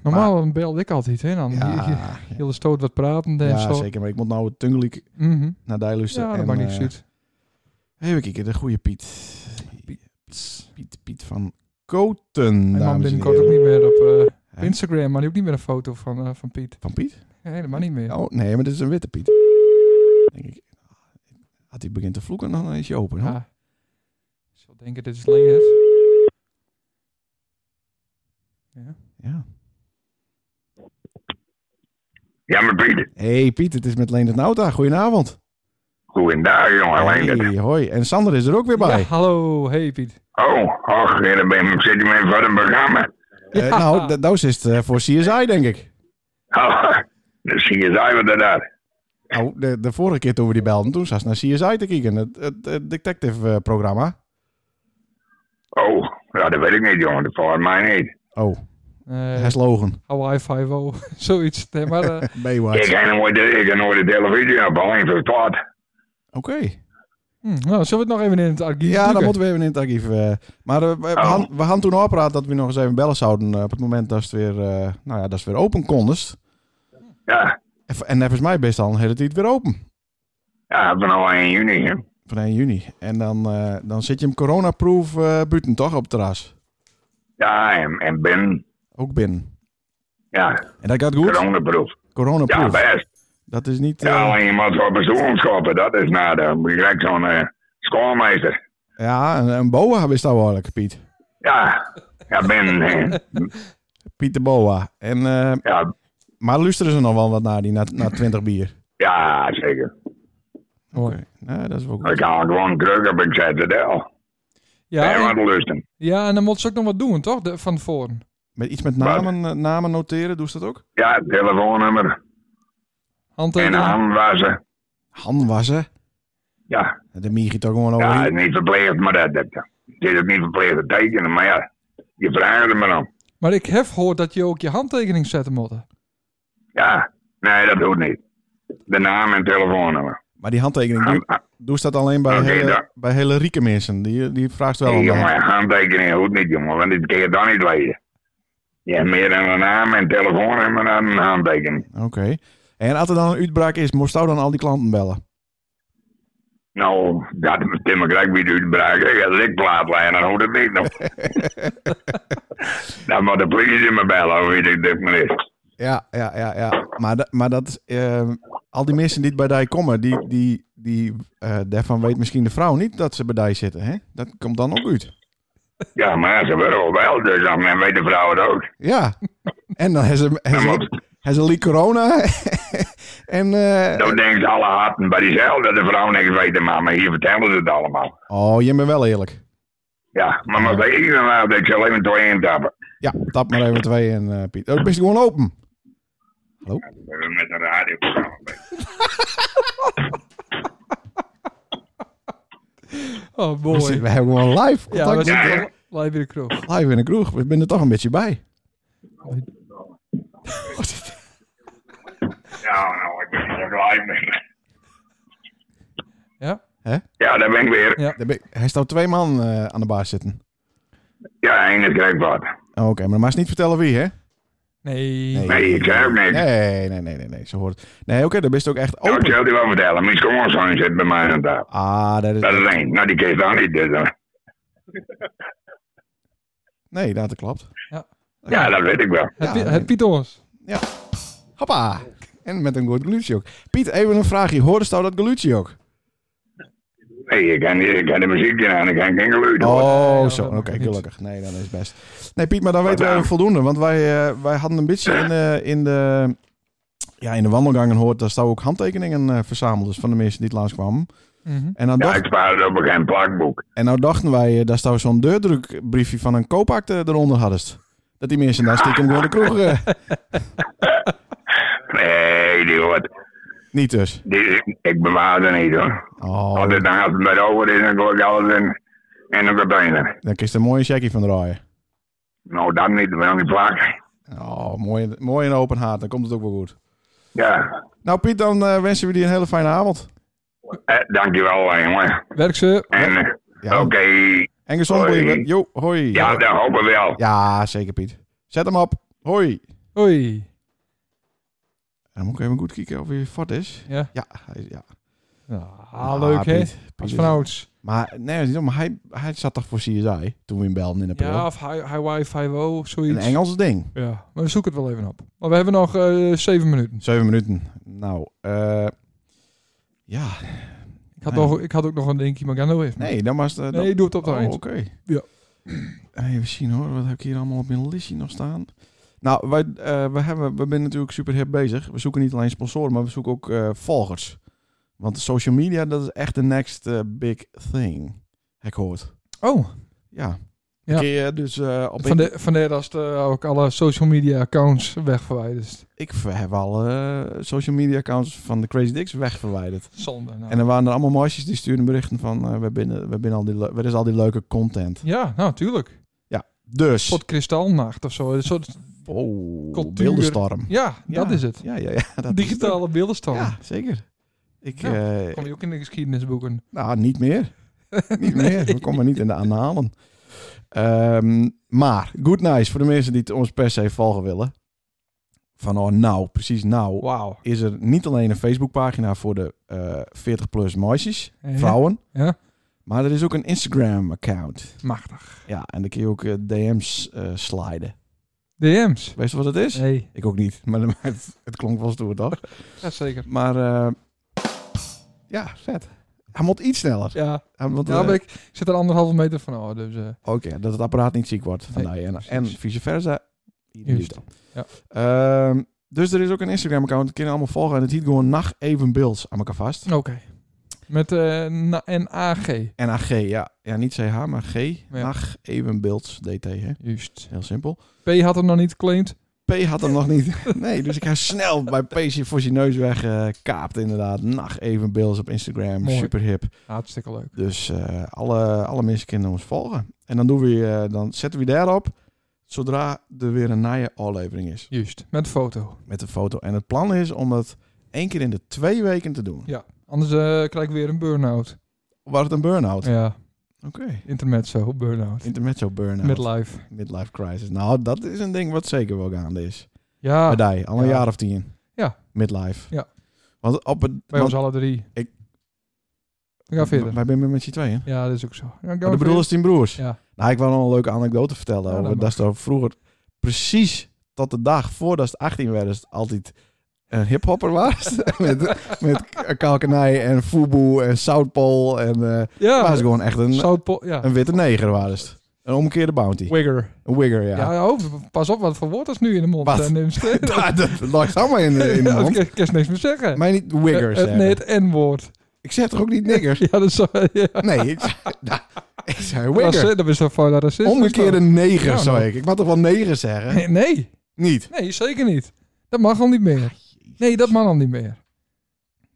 S2: Normaal belde ik altijd, hè? Dan je- je-
S1: Ja,
S2: je hele stoot wat pratend en
S1: ja
S2: zo.
S1: zeker. Maar ik moet nou het Tungeliek
S2: Mhm.
S1: naar daar luisteren.
S2: Ja,
S1: en,
S2: dat maakt niks
S1: eh,
S2: uit.
S1: Even kijken, de goede Piet. Piet, Piet van Koten,
S2: Mijn man
S1: dames en
S2: binnenkort ook
S1: heren.
S2: niet meer op eh, op
S1: Hè?
S2: Instagram, maar die ook niet meer een foto van, eh, van Piet.
S1: Van Piet?
S2: Nee, helemaal niet meer.
S1: Oh, nee, maar dit is een witte Piet. Denk ik. Had hij begint te vloeken, dan is je open. hoor.
S2: Ja. Ik zou denken, dit is Leendert. Ja.
S1: Ja.
S3: Ja, maar Piet.
S1: hey, Piet, het is met Leendert Nauta. Goedenavond.
S3: Goeiedag, jongen. Leendert.
S1: Hey, hoi. En Sander is er ook weer bij.
S2: Ja, hallo, hey Piet.
S3: Oh, och, en dan ben, zit hij mij voor een programma.
S1: Eh, nou, dat- dat is het eh, voor CSI, denk ik.
S3: Oh, dan zie je daar wat daar.
S1: Nou, de, de vorige keer toen we die belden, toen zat ze naar CSI te kijken. Het, het, het eh, detective-programma.
S3: Oh, ja, dat weet ik niet, jongen. Dat volgens mij niet.
S1: Oh,
S2: Eh
S1: hij is logen.
S2: Hawaii 5 zoiets. Nee, maar eh,
S1: Baywatch.
S3: Ik
S1: Oké.
S3: heb nooit de, ik heb nooit de televisie op, alleen voor wat.
S2: hm, nou, zullen we het nog even in het archief
S1: Ja,
S2: duiken?
S1: dan moeten we even in het archief. eh. maar eh, we, we
S3: Oh.
S1: gaan- we gaan toen afpraten dat we nog eens even bellen zouden eh, op het moment dat het weer, eh, nou ja, dat het weer open konst.
S3: Ja,
S1: En- En volgens mij best al een hele tijd weer open.
S3: ja, van al 1 juni, hè.
S1: Van 1 juni. En dan, eh, dan zit je hem coronaproof eh buiten, toch? Op het terras.
S3: Ja, en, en ben,
S1: Ook binnen.
S3: ja,
S1: En dat gaat goed?
S3: coronaproef. Ja,
S1: Coronaproof.
S3: best.
S1: Dat is niet...
S4: Ja,
S1: eh,
S4: alleen je moet op bezoek schoppen, dat is nada. Moet je gelijk zo'n eh, schoolmeester.
S1: ja, een, een boa is dat eigenlijk, Piet.
S4: Ja, ja, ben. eh,
S1: Piet de boa. En, eh,
S4: ja,
S1: maar luisteren ze nog wel wat naar die, na, na 20 bier?
S4: ja, zeker.
S2: Mooi.
S1: Nou, dat is wel
S4: Ik
S1: goed.
S4: haal gewoon kruk op, ik zet het al.
S2: Ja,
S4: en
S2: en,
S4: wat lusten.
S2: ja, en dan moet ze ook nog wat doen, toch? De, van tevoren.
S1: Met iets met namen, eh, namen noteren, doe je dat ook?
S4: Ja, telefoonnummer en
S2: Handtekening.
S4: handwassen.
S1: Han wassen.
S4: Ja,
S1: De mier gaat toch gewoon over.
S4: ja
S1: Oh, hier.
S4: het is niet verplicht, maar dat, dat, dat. Het is ook niet verplicht te tekenen, maar ja, je vraagt er maar om.
S2: Maar ik heb gehoord dat je ook je handtekening zetten moet. Oh,
S4: Ja, nee, dat hoeft niet. De naam en telefoonnummer.
S1: Maar die handtekening,
S4: Hand,
S1: doe, doe je dat alleen bij,
S4: Oké,
S1: hele,
S4: ah. daar.
S1: bij hele rieke mensen? Die, die vraagt wel
S4: nee,
S1: om de hand.
S4: jongen, handtekeningen hoeft niet, jongen, want dit kun je dan niet lezen. Je hebt meer dan een naam en telefoonnummer dan een handtekening.
S1: Oké. En als er dan een uitbraak is, moest jou dan al die klanten bellen?
S4: Nou, dat is Tim Greg wie de uitbraak. Ik had likplaat liggen, dan hoeft het niet nog. dan moet de politie me bellen, of wie dit maar is.
S1: Ja, ja, ja, ja. Maar, da- maar dat, eh, al die mensen die bij die komen, die, die, die, eh, daarvan weet misschien de vrouw niet dat ze bij die zitten. Hè? Dat komt dan ook uit.
S4: Ja, maar ze willen wel wel, dus dan dan weet de vrouw het ook.
S1: Ja. En dan hebben ze, hebben
S4: Ja,
S1: ze,
S4: maar-
S1: hebben ze Lee Corona. en, eh,
S4: Dan denkt alle harten bij diezelfde, de vrouw niks weten, maar hier vertellen ze het allemaal.
S1: oh, je bent wel eerlijk.
S4: Ja, maar maar bij iedereen wel, dat je alleen maar twee intappen.
S1: Ja, tap maar even twee en eh, Piet. Oh, ben je gewoon open? Hallo?
S4: We hebben Met een radioprogramma.
S2: Oh,
S1: We zitten-
S2: mooi.
S1: We hebben gewoon live
S2: Ja, we
S1: contact.
S4: Ja,
S2: zitten
S4: ja.
S2: al- live in de kroeg.
S1: Live in de kroeg. We zijn er toch een beetje bij.
S4: Ja, nou, ik ben er blij mee.
S2: Ja?
S4: Ja, daar ben ik weer.
S2: Ja.
S1: Daar ben ik- Hij staat twee man eh, aan de baas zitten.
S4: Ja, één is gelijk wat.
S1: Oh, Oké, maar maar eens niet vertellen wie, hè?
S2: Nee.
S1: Nee.
S4: Nee, ik zei ook niks.
S1: Nee, nee, nee, nee, nee. Ze hoort het. Nee, oké, dan ben je ook echt
S4: Nou, ik
S1: open.
S4: zal die wel vertellen. Mijn schoonzoon zit bij mij aan tafel.
S1: Ah, dat
S4: Dat
S1: is...
S4: is één. Nou, die kees dan niet. Dus, eh,
S1: Nee, dat klopt.
S4: ja, dat weet ik wel.
S2: Het,
S1: Ja,
S2: Pi- het Pythons.
S1: Hoppa! En met een goed glutje ook. Piet, even een vraagje. Hoorde jou dat glutje ook?
S4: Nee, ik kan, niet- ik kan de muziek niet aan. Ik kan geen geluid horen.
S1: Oh,
S2: ja,
S1: zo.
S2: dat
S1: Oké,
S2: mag niet.
S1: gelukkig. Nee, dat is best. Nee, Piet, maar dan weten
S4: Maar
S1: wij
S4: dan-
S1: voldoende. Want wij, eh, wij hadden een beetje in, de- in, de, ja, in de wandelgangen hoort dat staan ook handtekeningen eh, verzameld dus van de mensen die het laatst kwamen.
S2: Mhm.
S1: En dan
S4: Ja,
S1: dacht,
S4: ik spaar het op een geen plakboek.
S1: En nou dachten wij eh, dat zou zo'n deurdrukbriefje van een koopakte eronder haddest. Dat die mensen daar stiekem door de kroeg eh,
S4: Nee, die hoort.
S1: niet dus.
S4: Die, ik bewaar het niet hoor.
S1: Oh,
S4: Als het naast bij de over is, dan gooi ik alles in, in een container.
S1: daar kist een mooie checkie van draaien.
S4: Nou, dat niet. Maar dan die plak.
S1: Oh, mooi, mooi en open haat. Dan komt het ook wel goed.
S4: Ja,
S1: Nou Piet, dan eh, wensen we die een hele fijne avond.
S4: eh, dankjewel eh, jongen.
S2: Werk ze.
S4: En eh,
S1: Ja,
S4: oké,
S1: En gezond
S4: Hoi.
S1: blijven. Jo, hoi.
S4: ja, dat hopen we wel.
S1: Ja, zeker Piet. Zet hem op. Hoi.
S2: Oei.
S1: Dan moet ik even goed kijken of hij fort is.
S2: Ja.
S1: Ja, hij, ja.
S2: Ah,
S1: Ah,
S2: leuk hè?
S1: Piet. Piet
S2: Als
S1: is-
S2: vanouds.
S1: Maar nee, dat is niet om. maar hij, hij zat toch voor CSI toen we hem belden in april.
S2: Ja, of Hi- Hawaii 5
S1: een
S2: zoiets.
S1: Engels ding.
S2: Ja, maar we zoeken het wel even op. Maar we hebben nog eh, zeven minuten.
S1: Zeven minuten. Nou, eh, ja.
S2: Ik had,
S1: Nee.
S2: nog, ik had ook nog een dingetje, maar ik ga nou even.
S1: Nee, dan was het... eh,
S2: nee doe het op de
S1: dan-
S2: eind.
S1: oh, oké.
S2: Ja.
S1: Even zien hoor, wat heb ik hier allemaal op mijn listje nog staan? Nou, wij, eh, we, hebben, we zijn natuurlijk super hip bezig. We zoeken niet alleen sponsoren, maar we zoeken ook eh, volgers. Want social media, dat is echt de next eh, big thing. Heb Ik hoort.
S2: Oh,
S1: Ja.
S2: Ja.
S1: Kun je dus eh, op
S2: van de, vandaar dat ze eh, ook alle social media accounts wegverwijderd.
S1: Ik heb al eh, social media accounts van de Crazy Dicks wegverwijderd.
S2: Zonde. Nou.
S1: En er waren er allemaal meisjes die stuurden berichten van... eh, we binnen, we binnen al die, le- waar is al die leuke content?
S2: Ja, nou, tuurlijk.
S1: Dus...
S2: Pot kristalnacht of zo. Een soort,
S1: Oh,
S2: Cultuur.
S1: beeldenstorm.
S2: ja,
S1: Ja.
S2: dat is het.
S1: Ja, ja, ja. Dat is het.
S2: Digitale beeldenstorm.
S1: Ja, zeker. Ik,
S2: Ja,
S1: eh,
S2: Nou, Kom je ook in de geschiedenisboeken.
S1: nou, niet meer. Niet meer. We komen niet in de aanhalen. Ehm, maar, good nice voor de mensen die het ons per se volgen willen. Van oh, nou, precies nou,
S2: Wauw.
S1: is er niet alleen een Facebookpagina voor de eh 40-plus meisjes,
S2: Ja.
S1: vrouwen.
S2: Ja.
S1: Maar er is ook een Instagram-account.
S2: Machtig.
S1: Ja, en dan kun je ook eh, DM's eh sliden.
S2: DM's.
S1: Weet je wat het is?
S2: Nee.
S1: Ik ook niet, maar maar het, het klonk wel stoer toch?
S2: Jazeker.
S1: Maar eh, ja, vet. Hij moet iets sneller.
S2: Ja,
S1: Hij moet,
S2: daar
S1: eh,
S2: ben Nou, ik, ik zit er anderhalve meter van af. Dus, eh,
S1: Oké, dat het apparaat niet ziek wordt. Van
S2: Nee,
S1: die en,
S2: precies.
S1: en vice versa. Ieder
S2: Juist,
S1: doet
S2: ja.
S1: dat. Ehm, dus er is ook een Instagram-account. Dat kunnen allemaal volgen. En het heet gewoon Nacht Even Beeld aan elkaar vast.
S2: Oké. Met eh na- NAG.
S1: NAG, ja. Ja, niet CH, maar G. Nacht Even Beeld DT, hè.
S2: Juist.
S1: Heel simpel.
S2: P had hem nog niet geclaimd.
S1: P had hem nog niet. Nee, dus ik ga snel bij P z'n- voor zijn neus weg. eh, kaapt inderdaad. Nacht Even Beeld op Instagram.
S2: Mooi.
S1: Super hip.
S2: Hartstikke leuk.
S1: Dus eh, alle, alle mensen kunnen ons volgen. En dan, doen we, eh, dan zetten we daarop zodra er weer een nieuwe aflevering is.
S2: Juist. Met foto.
S1: Met de foto. En het plan is om dat één keer in de twee weken te doen.
S2: Anders eh, krijg ik weer een burn-out.
S1: Waar het een burn-out.
S2: Ja.
S1: Oké.
S2: Intermezzo. Burn-out.
S1: Intermezzo burn-out.
S2: Midlife.
S1: Midlife crisis. Nou, dat is een ding wat zeker wel gaande is.
S2: Ja.
S1: Bij die, al een
S2: Ah. Ja.
S1: jaar of tien.
S2: Ja.
S1: Midlife.
S2: Ja.
S1: Want op het...
S2: Bij
S1: want-
S2: ons alle drie.
S1: Ik-
S2: We gaan verder.
S1: Wij zijn met z'n tweeën.
S2: Ja, dat is ook zo. Ja, gaan
S1: Maar
S2: we
S1: de bedoel is tien broers.
S2: Ja.
S1: Nou, ik wil nog een leuke anekdote vertellen.
S2: Ja, dat
S1: over dat
S2: mag.
S1: ze vroeger precies tot de dag voordat ze 18 werden, ze altijd een hiphopper was. met met kalkenij en fubu en Southpole. En eh
S2: verder.
S1: was
S2: Ja.
S1: gewoon echt een,
S2: Zoutpo- ja.
S1: een witte neger waren ze. Een omgekeerde bounty.
S2: Wigger.
S1: Een wigger, ja.
S2: Ja, oh, pas op wat voor woord is nu in de mond.
S1: Wat?
S2: eh, neemt.
S1: dat, dat lag allemaal in de, in de
S2: Ja,
S1: mond.
S2: Ik kan niks meer zeggen.
S1: Maar niet wiggers.
S2: Eh, eh, nee, het N-woord.
S1: Ik zeg toch ook niet nigger?
S2: Ja, dat is zo. Ja.
S1: Nee, ik, zei- nou, ik zei wigger.
S2: Raci- Dat is zo van de racist.
S1: Omgekeerde neger,
S2: Ja,
S1: zou
S2: nou.
S1: ik. Ik mag toch wel neger zeggen?
S2: Nee, nee,
S1: Niet.
S2: nee, zeker niet. Dat mag al niet
S1: Ah,
S2: meer. Nee, dat mag al niet meer.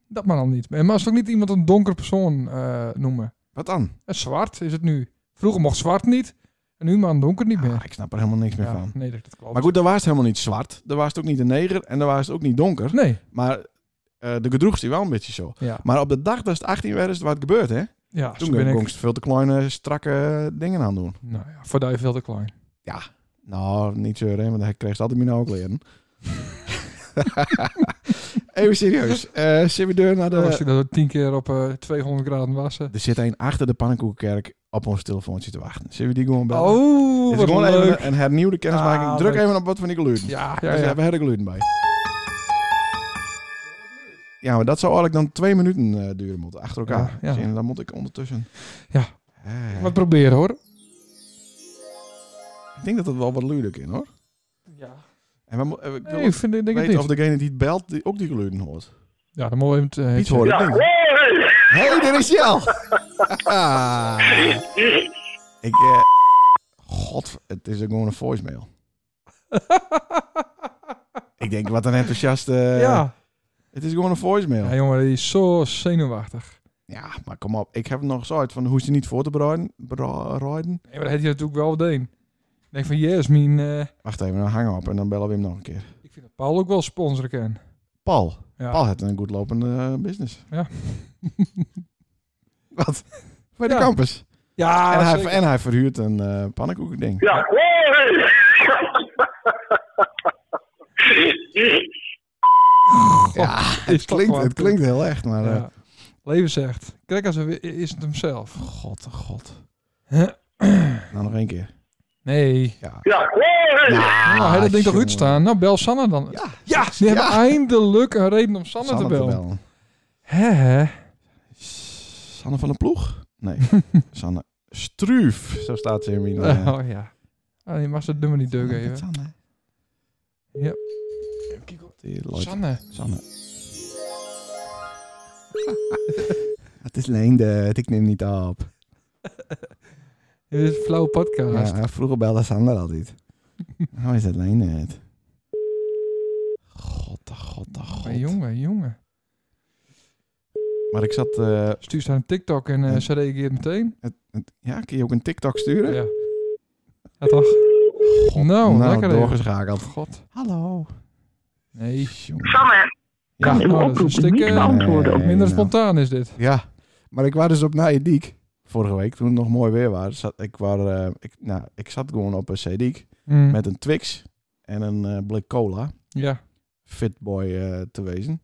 S2: Dat mag al niet meer. Maar als ook niet iemand een donker persoon eh, noemen.
S1: Wat dan?
S2: En zwart is het nu. Vroeger mocht zwart niet. En nu mag een donker niet meer.
S1: Ah, ik snap er helemaal niks meer
S2: Ja,
S1: van.
S2: Nee, dat, dat klopt.
S1: Maar goed, daar was het helemaal niet zwart. Daar was het ook niet een neger en daar was het ook niet donker.
S2: Nee,
S1: Maar eh, de gedroeg die wel een beetje zo.
S2: ja.
S1: Maar op de dag dat het 18 werd, is het wat gebeurd, hè?
S2: ja
S1: Toen
S2: zo ben ik.
S1: kon ik veel te kleine, strakke eh, dingen aan doen.
S2: Nou ja, voor die veel te klein.
S1: Nou, niet zeuren, hè, want hij kreeg ze altijd mijn ook leren. Even serieus. Eh Zit we deur naar
S2: Dan was
S1: de...
S2: ik dat tien keer op eh, 200 graden wassen.
S1: Er zit een achter de pannenkoekenkerk op ons telefoontje te wachten. Zullen we die gewoon bellen?
S2: Oh,
S1: Dit
S2: wat
S1: is gewoon
S2: leuk.
S1: even Dus een hernieuwde kennismaking.
S2: Ah,
S1: Druk
S2: leuk.
S1: even op wat van die geluiden.
S2: Ja,
S1: Ja,
S2: ja, ja.
S1: we hebben er gluten bij. Ja, maar dat zou eigenlijk dan twee minuten eh, duren moeten. Achter elkaar.
S2: Ja, ja.
S1: Zie je, dan moet ik ondertussen...
S2: Ja.
S1: Eh,
S2: Wat proberen hoor.
S1: ik denk dat het wel wat luider in hoor.
S2: Ja.
S1: En we, mo- eh, ik wil
S2: Nee, ik vind, ik denk het
S1: weten
S2: niet.
S1: of degene die het belt die ook die geluiden hoort.
S2: Ja, dan moeten we even... eh,
S1: Piet hoort
S3: Ja,
S1: het niet.
S3: hoi!
S1: Hé, hey, daar is Jel! Ah. ik... eh, God, het is ook gewoon een voicemail. ik denk, wat een enthousiaste...
S2: ja.
S1: Het is gewoon een voicemail.
S2: Eh, Ja, jongen, die is zo zenuwachtig.
S1: Ja, maar kom op. Ik heb het nog eens uit van hoe ze niet voor te bereiden. bereiden.
S2: Nee, maar dat heeft hij natuurlijk wel meteen. Ik denk van, yes, mijn... eh,
S1: Wacht even, dan hangen we op en dan bellen we hem nog een keer.
S2: ik vind dat Paul ook wel sponsoren kan.
S1: Paul.
S2: Ja.
S1: Paul heeft een goed lopende eh, business.
S2: Ja.
S1: Wat? Bij de
S2: Ja.
S1: campus.
S2: Ja,
S1: en, hij,
S2: zeker.
S1: en hij verhuurt een eh pannenkoekending.
S3: Ja, hoi!
S1: Ja,
S2: is
S1: het,
S2: toch
S1: klinkt,
S2: wel
S1: het klinkt heel echt, maar... eh,
S2: Ja. Leven zegt, kijk als we is het hem zelf.
S1: god, oh god. Nou, nog één keer.
S2: Nee.
S1: Ja.
S3: Ja, hoi!
S2: Nou, hij dat ding toch
S1: jongen.
S2: uitstaan? Nou, bel Sanne dan.
S1: Ja,
S2: Ja, die hebben eindelijk een reden om Sanne,
S1: Sanne
S2: te bellen. Hè, hè.
S1: Sanne van de Ploeg? Nee. Sanne Struuf, zo staat ze in mijn... eh,
S2: Oh ja. Ah, je mag ze het nummer niet deuken even.
S1: Sanne.
S2: Ja.
S1: Die Leute.
S2: Sanne.
S1: Sanne. Het is leende, ik neem niet op.
S2: Dit is een flauwe podcast.
S1: Ja, vroeger belde Sander altijd. Nou is het leende. God, oh god, oh god.
S2: Maar jongen, jongen.
S1: Maar ik zat... eh,
S2: Stuur ze aan een TikTok en eh,
S1: Ja.
S2: ze reageert meteen.
S1: het- ja, kun je ook een TikTok sturen?
S2: Ja. Ja, toch? nou,
S1: nou
S2: lekker even.
S1: doorgeschakeld.
S2: God.
S1: Hallo.
S2: Nee.
S1: Jongen.
S4: Sanne,
S1: Ja,
S2: Ja,
S4: uw
S2: nou, dat is een
S4: oproep
S2: stuk
S4: niet
S2: eh,
S4: beantwoorden op
S1: Nee,
S2: minder
S1: nou.
S2: spontaan is dit.
S1: Ja, maar ik was dus op Nijediek vorige week, toen het nog mooi weer was. Zat, ik, was eh, ik, nou, ik zat gewoon op een Zeediek
S2: Mm.
S1: met Nou, een Twix en een eh, blik cola,
S2: Ja.
S1: Fitboy eh te wezen.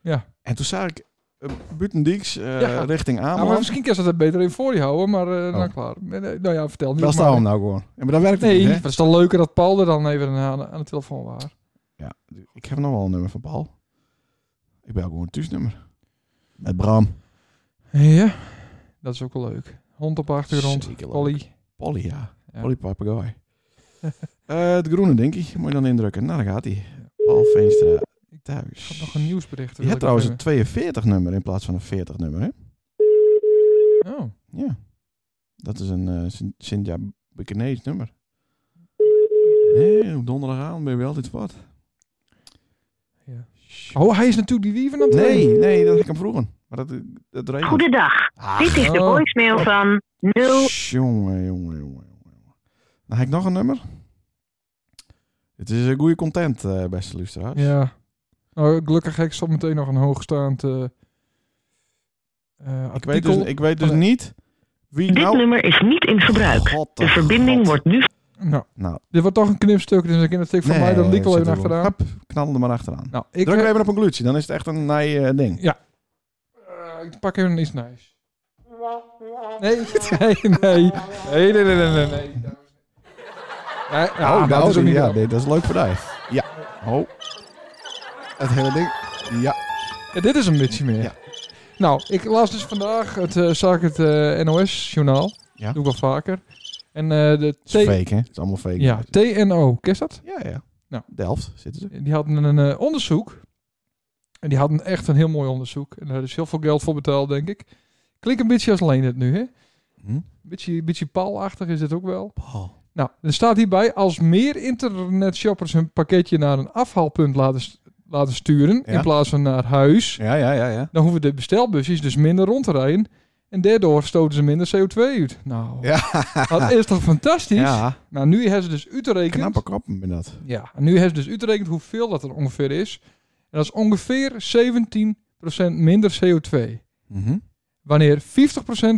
S2: Ja.
S1: En toen zag ik eh, buitendieks eh,
S2: Ja.
S1: richting
S2: Ja,
S1: Ameland.
S2: maar misschien kan ze dat beter in voor je houden, maar eh
S1: Oh.
S2: nou klaar. Nee, nee, Nou ja, vertel nu.
S1: dat is
S2: maar.
S1: daarom nou gewoon. Ja, maar dat werkt
S2: Nee,
S1: niet,
S2: maar
S1: hè?
S2: het is dan leuker dat Paul er dan even aan, aan de telefoon was.
S1: Ja, ik heb nog wel een nummer van Paul. Ik ben ook gewoon een thuisnummer. Met Bram.
S2: Ja, dat is ook wel leuk. Hond op de achtergrond,
S1: Zeker leuk.
S2: Polly.
S1: Polly, ja.
S2: Ja.
S1: Polly papegaai. Eh, het groene, denk ik. Moet je dan indrukken. Nou, daar gaat hij. Paul Veenstra
S2: Ik
S1: thuis.
S2: had nog een nieuwsbericht.
S1: Je hebt trouwens een 42 nummer in plaats van een 40 nummer, hè?
S2: Oh,
S1: Ja. Dat is een eh, Sint- Sint-Ja Bekenees nummer. Nee, op donderdagavond ben je wel altijd wat.
S2: Ja. oh, hij is natuurlijk die wieven aan het
S1: Nee,
S2: trainen.
S1: nee, dat had ik hem vroegen. Maar dat, dat regelt.
S5: Goedendag. Dit is de
S2: Oh.
S5: voicemail van 0.
S1: Jongen, jongen, jongen, jongen. jongen. Dan heb ik nog een nummer. Het is een goede content, eh, beste luisteraars.
S2: Ja. Nou, gelukkig heb ik zo meteen nog een hoogstaand eh eh,
S1: Ik weet
S2: artikel.
S1: dus, ik weet dus
S2: Oh, nee.
S1: niet wie
S5: Dit
S1: nou...
S5: nummer is niet in gebruik.
S1: God,
S5: De
S1: oh,
S5: verbinding
S1: God.
S5: wordt nu
S2: Nou,
S1: Nou,
S2: dit wordt toch een knipstuk, dus ik denk dat ik van
S1: Nee,
S2: mij dat liek wel
S1: zit
S2: even
S1: er wel.
S2: achteraan.
S1: knal er maar achteraan.
S2: Nou, ik,
S1: Druk er
S2: eh,
S1: even op een glutje, dan is het echt een nij eh, ding.
S2: eh, ik pak even iets nice. Nee, nee, nee. Nee, nee, nee, nee, nee. nee. Ja, ja,
S1: oh,
S2: dat is ook niet
S1: ja,
S2: ja,
S1: nee, dat is leuk voor mij. Ja. Oh. Het hele ding. Ja.
S2: Ja, dit is een beetje meer.
S1: Ja.
S2: Nou, ik las dus vandaag, het, eh, zag ik het eh, NOS-journaal.
S1: Ja.
S2: Doe ik wel vaker. En eh, de
S1: Het is
S2: T
S1: fake, hè? Het is allemaal fake.
S2: ja, TNO, ken je dat?
S1: ja. ja.
S2: Nou.
S1: Delft zitten ze.
S2: Die hadden een eh, onderzoek. En die hadden echt een heel mooi onderzoek. En daar is heel veel geld voor betaald, denk ik. Klinkt een beetje als alleen het nu, hè?
S1: Hm?
S2: Beetje, beetje paalachtig is het ook wel.
S1: Paul.
S2: Nou, er staat hierbij... als meer internetshoppers hun pakketje naar een afhaalpunt laten, st- laten sturen...
S1: Ja.
S2: in plaats van naar huis...
S1: Ja, ja, ja, ja.
S2: dan hoeven de bestelbusjes dus minder rond te rijden... en daardoor stoten ze minder CO2 uit. Nou,
S1: Ja,
S2: dat is toch fantastisch?
S1: ja.
S2: Nou, nu hebben ze dus uitgerekend...
S1: knappe koppen ben dat.
S2: Ja, en nu heeft dus uitgerekend hoeveel dat er ongeveer is. En dat is ongeveer 17% minder CO2.
S1: Mhm.
S2: Wanneer 50%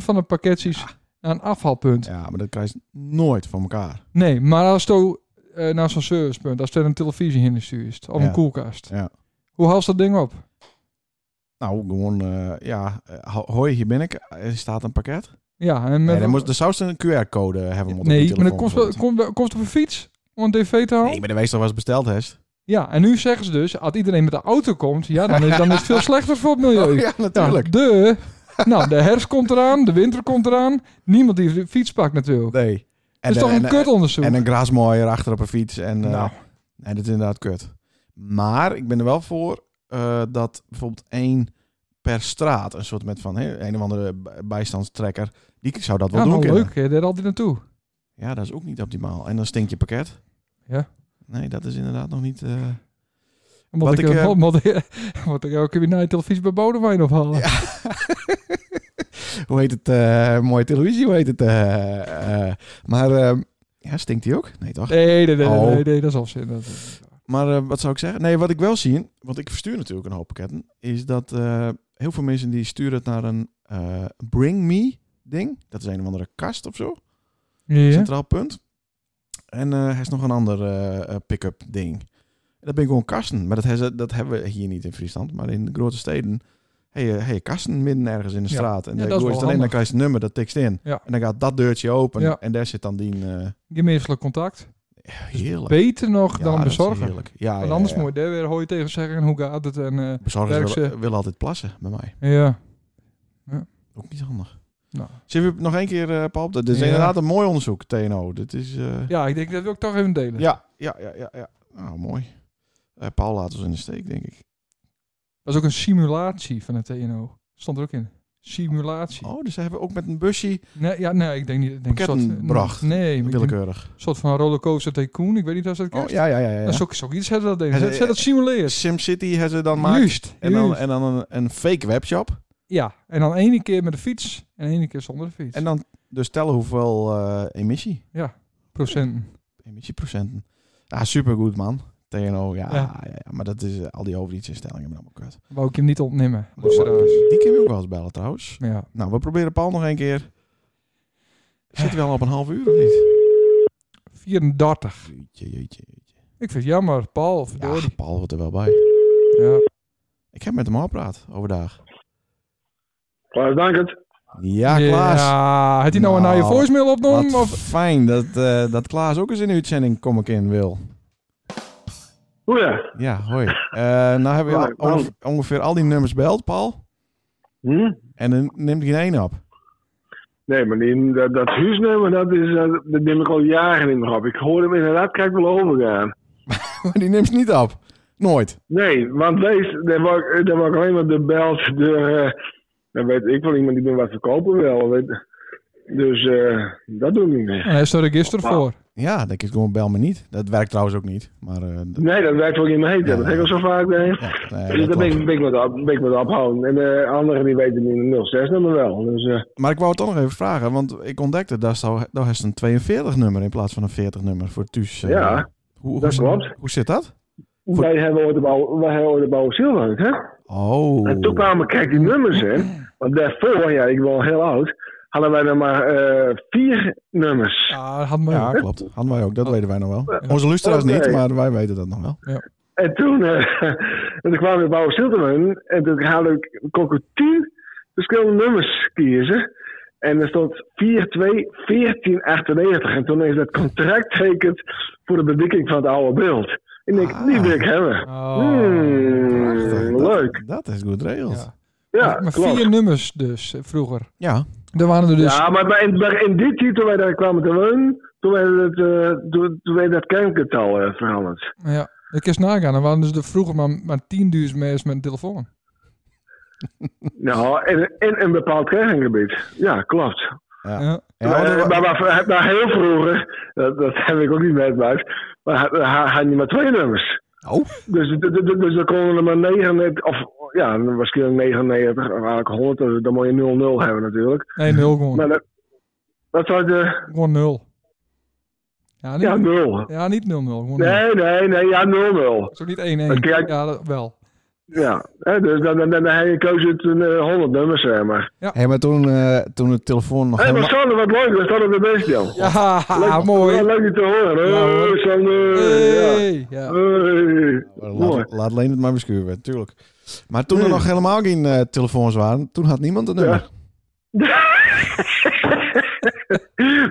S2: van de pakketjes naar een afhaalpunt.
S1: Ja, maar dat krijg je nooit van elkaar.
S2: Nee, maar als je eh naar zo'n servicepunt, als je een televisie in stuurt of
S1: Ja.
S2: een koelkast.
S1: Ja.
S2: Hoe haal ze dat ding op?
S1: Nou, gewoon, eh, ja, eh, ho- hoi, hier ben ik. Er staat een pakket.
S2: Ja, en met
S1: Nee, dan moest, er zou ze een QR-code hebben. op de
S2: nee maar
S1: telefoon
S2: dat kost, wel-
S1: gezet.
S2: komt, wel- kost op een fiets om een tv te halen.
S1: Nee, maar de weestal was besteld, hè?
S2: Ja, en nu zeggen ze dus, als iedereen met de auto komt, ja, dan is, dan is het veel slechter voor het milieu.
S1: ja, natuurlijk.
S2: Nou, de, nou, de herfst komt eraan, de winter komt eraan. Niemand die de fiets pakt natuurlijk. Dat
S1: Nee. En
S2: is
S1: dan-
S2: toch een
S1: en-
S2: kutonderzoek?
S1: En een grasmooier achter op een fiets. En, eh,
S2: Nou.
S1: nee, dat is inderdaad kut. Maar ik ben er wel voor eh, dat bijvoorbeeld één per straat, een soort met van hè, een of andere bij- bijstandstrekker, die zou dat wel
S2: ja,
S1: doen.
S2: nou,
S1: kunnen.
S2: leuk, hè, daar altijd naartoe.
S1: Ja, dat is ook niet optimaal. En dan stinkt je pakket.
S2: Ja.
S1: Nee, dat is inderdaad nog niet. eh,
S2: Moet
S1: Wat
S2: ik,
S1: ik,
S2: eh,
S1: eh,
S2: moet- moet ik- moet ik elke keer naar je televisie bij Bodewijn ophalen? Ja.
S1: hoe heet het? eh, mooie televisie, hoe heet het? eh, eh, maar ehm, ja, stinkt die ook? Nee, toch?
S2: Nee, nee, nee, nee,
S1: Oh.
S2: nee, nee, dat is afzin. Dat,
S1: Maar eh, wat zou ik zeggen? Nee, wat ik wel zie, want ik verstuur natuurlijk een hoop pakketten, is dat eh, heel veel mensen die sturen het naar een eh, Bring Me ding. Dat is een of andere kast of zo,
S2: ja.
S1: centraal punt. En eh hij is nog een ander eh, eh, pick-up ding. En dat ben ik gewoon kasten, maar dat, hebben ze- dat hebben we hier niet in Friesland, maar in de grote steden. Hey, eh, hey, kasten midden ergens in de
S2: Ja.
S1: straat. En
S2: Ja,
S1: daar
S2: dat is
S1: doe je
S2: wel
S1: het alleen, dan
S2: handig.
S1: krijg je het nummer, dat tekst in.
S2: Ja.
S1: En dan gaat dat deurtje open
S2: Ja.
S1: en daar zit dan die... eh,
S2: Gemeenselijk contact.
S1: heerlijk.
S2: Beter nog
S1: Ja,
S2: dan
S1: dat is
S2: bezorgen.
S1: heerlijk. Ja,
S2: Want
S1: ja,
S2: anders
S1: ja.
S2: moet je daar weer hooi tegen zeggen en hoe gaat het. En, eh,
S1: Bezorgers
S2: Werk
S1: willen, willen altijd plassen bij mij.
S2: ja.
S1: Ook niet handig.
S2: Nou.
S1: Zullen we nog één keer, eh Paul? Dit is
S2: Ja.
S1: inderdaad een mooi onderzoek, TNO. Dit is... eh,
S2: ja, ik denk dat wil ik toch even delen.
S1: ja, ja, ja, ja. ja. Nou, mooi. Eh, Paul laat ons in de steek, denk ik.
S2: Dat is ook een simulatie van het TNO. Stond er ook in. Simulatie.
S1: Oh, dus ze hebben ook met een busje,
S2: Nee, ja, nee, ik denk niet. Ik denk een
S1: Pakketten
S2: soort-
S1: bracht.
S2: Nee, maar ik denk
S1: willekeurig.
S2: een soort van rollercoaster tycoon. Ik weet niet of dat
S1: eh,
S2: Nou,
S1: Oh,
S2: kent.
S1: ja, ja, ja. ja.
S2: Dat is ook, is ook iets hebben dat deden.
S1: Ja,
S2: Ze
S1: ze-
S2: ze dat simuleert.
S1: SimCity hebben ze dan maakt.
S2: Juist.
S1: En dan,
S2: juist.
S1: en dan een, een fake webshop.
S2: ja, en dan ene keer met de fiets en ene keer zonder de fiets.
S1: En
S2: En
S1: dan dus tellen hoeveel eh, emissie.
S2: procenten.
S1: Emissieprocenten. Ja, supergoed, man. TNO, ja,
S2: Ja.
S1: ja. ja, maar dat is eh, al die overheidsinstellingen hebben allemaal kut. Oh,
S2: Wou ik hem niet ontnemen. Dus, eh,
S1: Die kunnen we ook wel eens bellen, trouwens.
S2: Ja.
S1: Nou, we proberen Paul nog een keer. Zitten we al op een half uur of niet?
S2: 34.
S1: Jeetje, jeetje, jeetje.
S2: Ik vind het jammer. Paul,
S1: Ja,
S2: verdorie.
S1: Paul wordt er wel bij.
S2: Ja.
S1: Ik heb met hem al gepraat overdag.
S6: Klaas Dankert.
S1: Ja, Klaas.
S2: Ja, had hij nou, een
S1: Nou,
S2: nieuwe voicemail opgenomen?
S1: Wat
S2: Of?
S1: fijn dat, eh, dat Klaas ook eens in de uitzending kom ik in wil.
S6: Hoe ja?
S1: Ja, hoi. Eh, nou hebben we
S6: Hoi,
S1: al- onge- ongeveer al die nummers beld, Paul.
S6: Hm?
S1: En dan neemt geen één op.
S6: Nee, maar die, dat, dat huisnummer, dat, is, eh, dat neem ik al jaren niet meer op. Ik hoor hem inderdaad, kijk wel overgaan.
S1: Maar die neemt ze niet op. Nooit.
S6: Nee, want wees, daar wou ik, daar wou ik alleen maar de belt, de, eh, dan weet ik wel iemand die me wat verkopen wil. Weet, dus eh, dat doe ik niet meer.
S2: Hij heeft er gisteren voor.
S1: Ja, dat is gewoon bel me niet. Dat werkt trouwens ook niet. Maar eh, dat-
S6: Nee, dat werkt wel niet meer.
S1: Ja.
S6: dat heb ik al zo vaak. Nee.
S1: ja, nee, dat
S6: dus daar ben ik,
S1: klopt.
S6: ben ik wat op, ben ik wat ophouden. En de anderen die weten die 06 nummer wel. Dus eh,
S1: Maar ik wou het toch nog even vragen, want ik ontdekte dat zou daar is een 42 nummer in plaats van een 40 nummer voor Thuis. eh.
S6: Ja,
S1: hoe, hoe,
S6: dat
S1: zit-
S6: klopt.
S1: Hoe zit dat? Voor-
S6: wij hebben ooit de bouw, wij hebben ooit de bouw Silvank, hè?
S1: Oh.
S6: En toen kwamen, kijk, die nummers in. Want daarvoor, ja, ik ben al heel oud, hadden wij er maar eh, vier nummers.
S2: Ja, had me
S1: Ja, klopt. Hadden wij ook. Dat weten wij nog wel. Onze luisteraars
S6: Oké.
S1: niet, maar wij weten dat nog wel.
S6: En toen, eh, en toen kwamen we bij Silterman en toen haalde ik kon ik tien verschillende nummers kiezen. En er stond 4, 2, 14, 98. En toen is dat contract getekend voor de bedekking van het oude beeld. En ik,
S1: Ah.
S6: die wil ik hebben.
S2: Oh.
S6: Hmm,
S1: Prachtig.
S6: leuk.
S1: Dat, dat is goed regeld.
S2: Ja.
S1: Ja.
S6: Ja,
S2: maar
S6: klopt.
S2: vier nummers dus, eh, vroeger. Er waren er dus...
S6: Ja, maar bij- maar in die tijd, toen wij daar kwamen te wonen, toen werd het, eh, toen, toen werd dat kerngetal eh, veranderd.
S2: Ja, ik eens nagaan. Er waren dus de vroeger maar, maar 10.000 mensen met een telefoon.
S6: Nou, in, in een bepaald kerngebied. Ja, klopt.
S1: Ja.
S2: Ja.
S1: Ja,
S6: maar,
S1: er wa-
S6: eh, maar, maar- maar heel vroeger, dat, dat heb ik ook niet meegemaakt, maar ha- ha- had je maar twee nummers.
S1: Oh.
S6: Dus, d- d- d- dus dan konden er maar 99, of ja, misschien 99, of eigenlijk 100, dus dan moet je 00 hebben natuurlijk.
S2: Nee, nul gewoon.
S6: Maar dat, dat zou de,
S2: Gewoon nul. Ja,
S6: ja,
S2: niet,
S6: 0.
S2: ja, niet 0-0. Gewoon nul.
S6: Nee, nee, nee, ja, 00.
S2: Het is ook niet 1-1.
S6: Kijk.
S2: Ja, dat wel.
S6: Ja, hè, dus dan, dan, dan, dan heb je keuze uit een, eh, 100 nummers, zeg maar.
S1: Hey, maar toen, eh, toen het telefoon nog
S6: Hé, maar
S1: helemaal...
S6: Sander, wat leuk, dat staat op de best, joh.
S2: Ja,
S6: Leuk-
S2: mooi.
S6: Leuk je te horen.
S1: Nou,
S2: Ja,
S6: Hé,
S2: hoor.
S6: Sander. Ja.
S2: Hey, ja.
S6: Hey. Mooi. Mm.
S1: Laat, laat alleen het maar beschuren, tuurlijk. Maar toen er nog helemaal geen eh, telefoons waren, toen had niemand een nummer.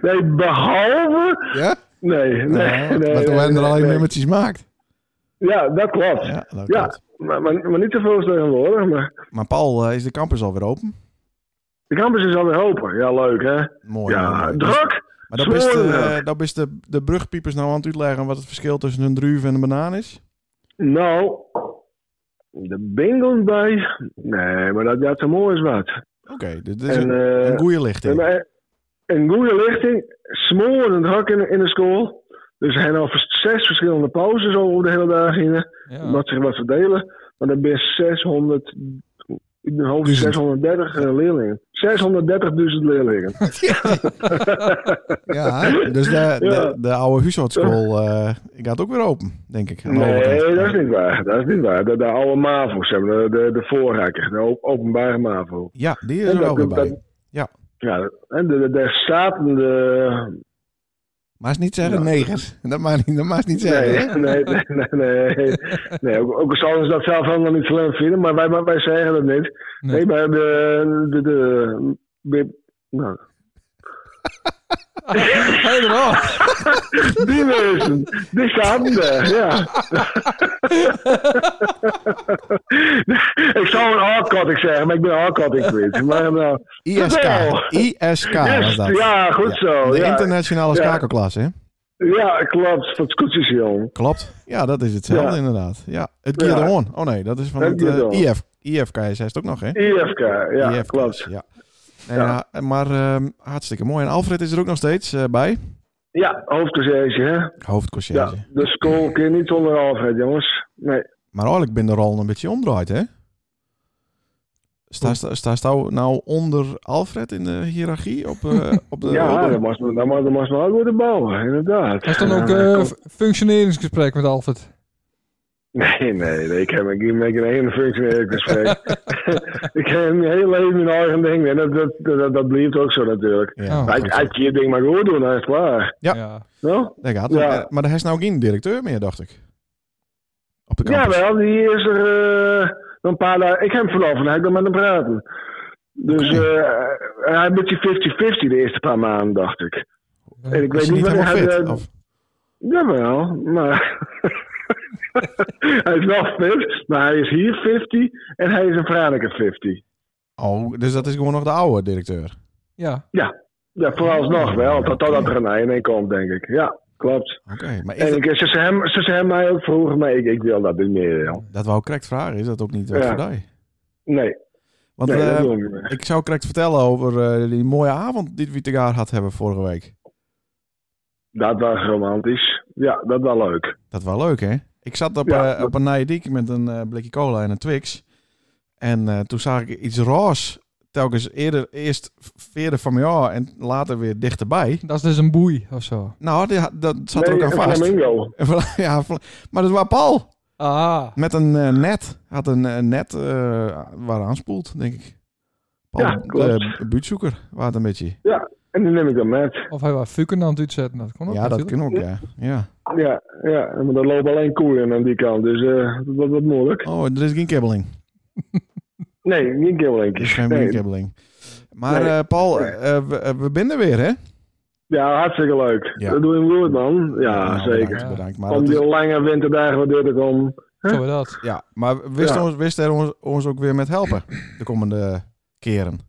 S6: Nee, behalve.
S1: Ja?
S6: Nee, nee.
S1: Ja,
S6: nee,
S1: maar
S6: nee,
S1: toen werden er
S6: nee,
S1: alleen
S6: nee.
S1: nummertjes gemaakt.
S6: Ja, dat klopt.
S1: Ja, dat
S6: Ja.
S1: klopt.
S6: Maar, maar, maar niet te veel tegenwoordig. Maar
S1: Maar Paul, eh, is de campus alweer open?
S6: de campus is alweer open. Ja, leuk hè?
S1: Mooi.
S6: Ja,
S1: mooi.
S6: druk!
S1: Maar dat is,
S6: Zwolle.
S1: de, dat is de, de brugpiepers nou aan het uitleggen wat het verschil tussen een druif en een banaan is?
S6: Nou, de bingo bij. Nee, maar dat, dat zo mooi is wat.
S1: Oké, dit is
S6: En,
S1: een,
S6: eh,
S1: een goede lichting.
S6: En, een goede lichting, smoor en druk in, in de school. Dus er zijn al vers- zes verschillende pauzes over de hele dag heen.
S2: Ja.
S6: wat zich wat verdelen. Maar dan ben je 600, in mijn hoofd
S1: Duizend.
S6: 630 eh, leerlingen. 630.000 leerlingen.
S1: ja, dus de, de, de oude huisartschool eh, gaat ook weer open, denk ik. aan de
S6: Nee,
S1: overkant.
S6: dat is niet waar. Dat is niet waar. De, de oude MAVO's hebben, de, de, de voorraker, de op- openbare MAVO.
S1: Ja, die is
S6: En
S1: er
S6: dat-
S1: ook weer
S6: dat-
S1: bij.
S6: dat-
S1: Ja.
S6: Ja, en de, de, de staten, de...
S1: Maar is niet zeggen
S6: Ja.
S1: neger. Dat mag niet, dat mag niet zeggen.
S6: Nee,
S1: hè?
S6: nee, nee, nee. nee. nee ook, ook al zouden ze dat zelf helemaal niet slim vinden, maar wij, maar wij zeggen dat niet.
S2: Nee.
S6: Nee, maar de... de, de, de- nou,
S2: Helemaal.
S6: die mensen, die staan er, ja. ik zou een hardcotting zeggen, maar ik ben een hardcotting kwijt. Maar nou,
S1: ISK.
S6: Jawel.
S1: ISK Ah, was
S6: yes,
S1: dat.
S6: ja, goed zo.
S1: De
S6: ja.
S1: internationale
S6: Ja.
S1: schakelklasse, hè?
S6: ja, klopt, van scootjes, jong.
S1: Klopt. Ja, dat is hetzelfde
S6: Ja.
S1: inderdaad. Ja, het
S6: Ja.
S1: Gideon. Oh nee, dat is van
S6: Het
S1: het eh,
S6: Gideon.
S1: IF. IFKS is het ook nog, hè?
S6: IFK, ja,
S1: IFKS,
S6: klopt.
S1: Ja. Nee, ja, maar ehm, hartstikke mooi. En Alfred is er ook nog steeds eh, bij.
S6: Ja, hoofdcollege, hè. Ja,
S1: Hoofdconciërge.
S6: de school kun je niet zonder Alfred, jongens. Nee.
S1: Maar eigenlijk ben de rol een beetje omdraaid, hè? Sta, sta, sta, sta nou onder Alfred in de hiërarchie? Op, eh, op de,
S6: Ja,
S1: op-
S6: dat was, dat was, dat was wel worden bouwen, inderdaad.
S2: Was dan ook
S6: Ja,
S2: eh,
S6: kom-
S2: functioneringsgesprek met Alfred?
S6: Nee, nee, nee, ik heb ik heb met geen ene functioneel gesprek. ik heb mijn hele leven mijn eigen ding en dat, dat, dat, dat blijft ook zo natuurlijk.
S1: Ja,
S2: Oh.
S6: Als
S1: goed.
S6: als je je ding maar goed doet, dan is het klaar.
S1: Ja.
S6: No?
S1: Daar gaat
S6: Ja.
S1: het. Maar daar is nou geen directeur meer, dacht ik. Op de campus.
S6: Jawel, die is er eh, een paar dagen. Ik heb hem vanaf en hij kan met hem praten. Dus
S1: Oké.
S6: eh, hij had een beetje 50-50 de eerste paar maanden, dacht ik. En ik
S1: Is
S6: weet
S1: hij
S6: niet
S1: niet
S6: wanneer
S1: helemaal
S6: hij...
S1: fit?
S6: eh,
S1: Of-
S6: Jawel, maar... hij is wel fit, maar hij is hier 50 en hij is een vrouwelijke 50.
S1: Oh, dus dat is gewoon nog de oude directeur.
S2: Ja.
S6: Ja, vooralsnog wel. Tot, totdat er een einde komt, denk ik. Ja, klopt.
S1: Oké, maar is
S6: En
S1: dat,
S6: ik, ze, zei hem, ze zei hem mij ook vroeger, maar ik, ik wil dat niet meer. joh.
S1: dat wou ik correct vragen. Is dat ook niet wat
S6: Ja.
S1: voor die?
S6: Nee,
S1: Want
S6: nee dat
S1: eh,
S6: wil ik niet meer.
S1: ik zou correct vertellen over eh, die mooie avond die we tegaar had hebben vorige week.
S6: Dat was romantisch. Ja, dat was leuk.
S1: Dat was leuk, hè? Ik zat op,
S6: Ja,
S1: eh, op een nijdiek met een eh, blikje cola en een Twix. En eh, toen zag ik iets raars. Telkens eerder, eerst verder van mij af en later weer dichterbij.
S2: Dat is dus een boei of zo.
S1: Nou, die ha- dat zat
S6: nee,
S1: er ook aan
S6: een
S1: vast.
S6: Flamingo.
S1: ja, vla- maar dat was Paul.
S2: Ah.
S1: Met een eh, net. Had een eh, net eh waar aanspoelt, denk ik. Paul,
S6: Ja, klopt.
S1: de buurtzoeker, waar het een beetje.
S6: En die neem ik dan met.
S2: Of hij was fuken aan het uitzetten. Dat kon ook
S1: ja, dat
S2: natuurlijk.
S1: kan ook, ja. ja.
S6: Ja, ja, maar er lopen alleen koeien aan die kant, dus eh, dat wordt wat moeilijk.
S1: Oh, er is geen kibbeling.
S6: Nee, niet heel
S1: Er is geen
S6: nee.
S1: kibbeling. Maar
S6: Nee.
S1: eh, Paul, eh, we, eh, we binnen weer, hè?
S6: Ja, hartstikke leuk.
S1: Ja.
S6: Dat doe je goed, man. Ja,
S1: Nou,
S6: zeker.
S1: Bedankt, bedankt. Maar,
S6: Om
S1: dat
S6: die
S1: is-
S6: lange winterdagen wat dit er komt.
S2: Zo we dat.
S1: ja, maar wist,
S6: Ja.
S1: Ons, wist hij ons, ons ook weer met helpen de komende keren?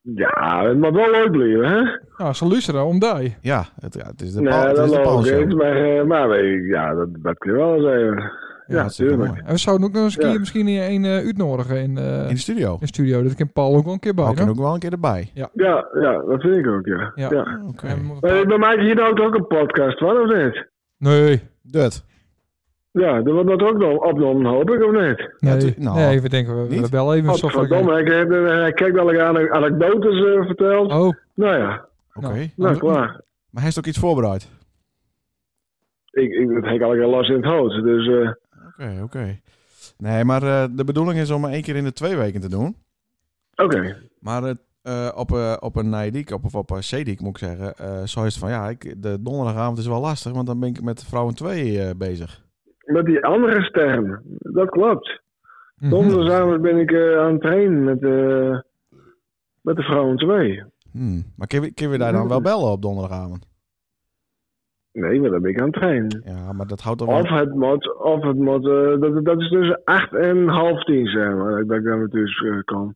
S6: Ja, het mag wel leuk blijven, hè?
S2: Nou, ze luisteren om die.
S1: Ja, het, ja, het is de,
S6: Nee,
S1: Paul- het is
S6: dat
S1: de
S6: loopt
S1: Paul-show.
S6: niet. Maar, eh, maar we- ja, dat, dat kun je wel eens even. Ja,
S1: hartstikke
S6: tuurlijk.
S1: mooi.
S2: En we zouden ook nog eens een
S6: Ja.
S2: keer misschien een eh uitnodigen in, eh
S1: In de studio.
S2: in studio. Dat kan Paul ook wel een keer bij.
S1: Paul kan
S2: no?
S1: ook wel een keer erbij.
S6: Ja, ja, dat vind ik ook, ja.
S2: Ja.
S6: ja.
S1: Oké.
S2: En we moeten-
S6: Eh, we maken hier nou ook een podcast, wat of niet?
S2: Nee.
S1: Dut.
S6: Ja, dan wordt dat ook nog opgenomen, hoop ik, of niet?
S1: Ja,
S2: Nee,
S1: tu- nou,
S2: nee, we denken, we, we
S1: niet.
S2: bellen even. zo voor elkaar.
S6: Godverdomme, ik heb eh, ik kijk dat ik ane- anekdotes eh, vertel.
S2: Oh,
S6: Nou ja,
S1: Oké.
S6: nou
S2: Nou,
S6: klaar.
S1: Maar hij heeft ook iets voorbereid.
S6: Ik, ik, dat heb ik al last in het hoofd, dus... eh,
S1: Oké, oké. Nee, maar eh, de bedoeling is om maar één keer in de twee weken te doen.
S6: Oké,
S1: Maar eh, eh, op, eh, op een Nijdiek, op, of op een Zeediek moet ik zeggen, eh zo is het van ja, ik, de donderdagavond is wel lastig, want dan ben ik met vrouwen twee eh, bezig.
S6: met die andere sterren, dat klopt.
S2: mhm.
S6: Donderdagavond ben ik eh, aan het trainen met, eh, met de vrouwen twee.
S1: Hmm. Maar kunnen we- kunnen we daar dan wel bellen op donderdagavond?
S6: Nee, maar dan ben ik aan het trainen.
S1: Ja, maar dat houdt
S2: Oh.
S1: toch
S6: Of
S1: wel...
S6: het moet, of het moet, eh, dat, dat is tussen 8 en half 10, zeg maar, dat ik daar natuurlijk eh, kan.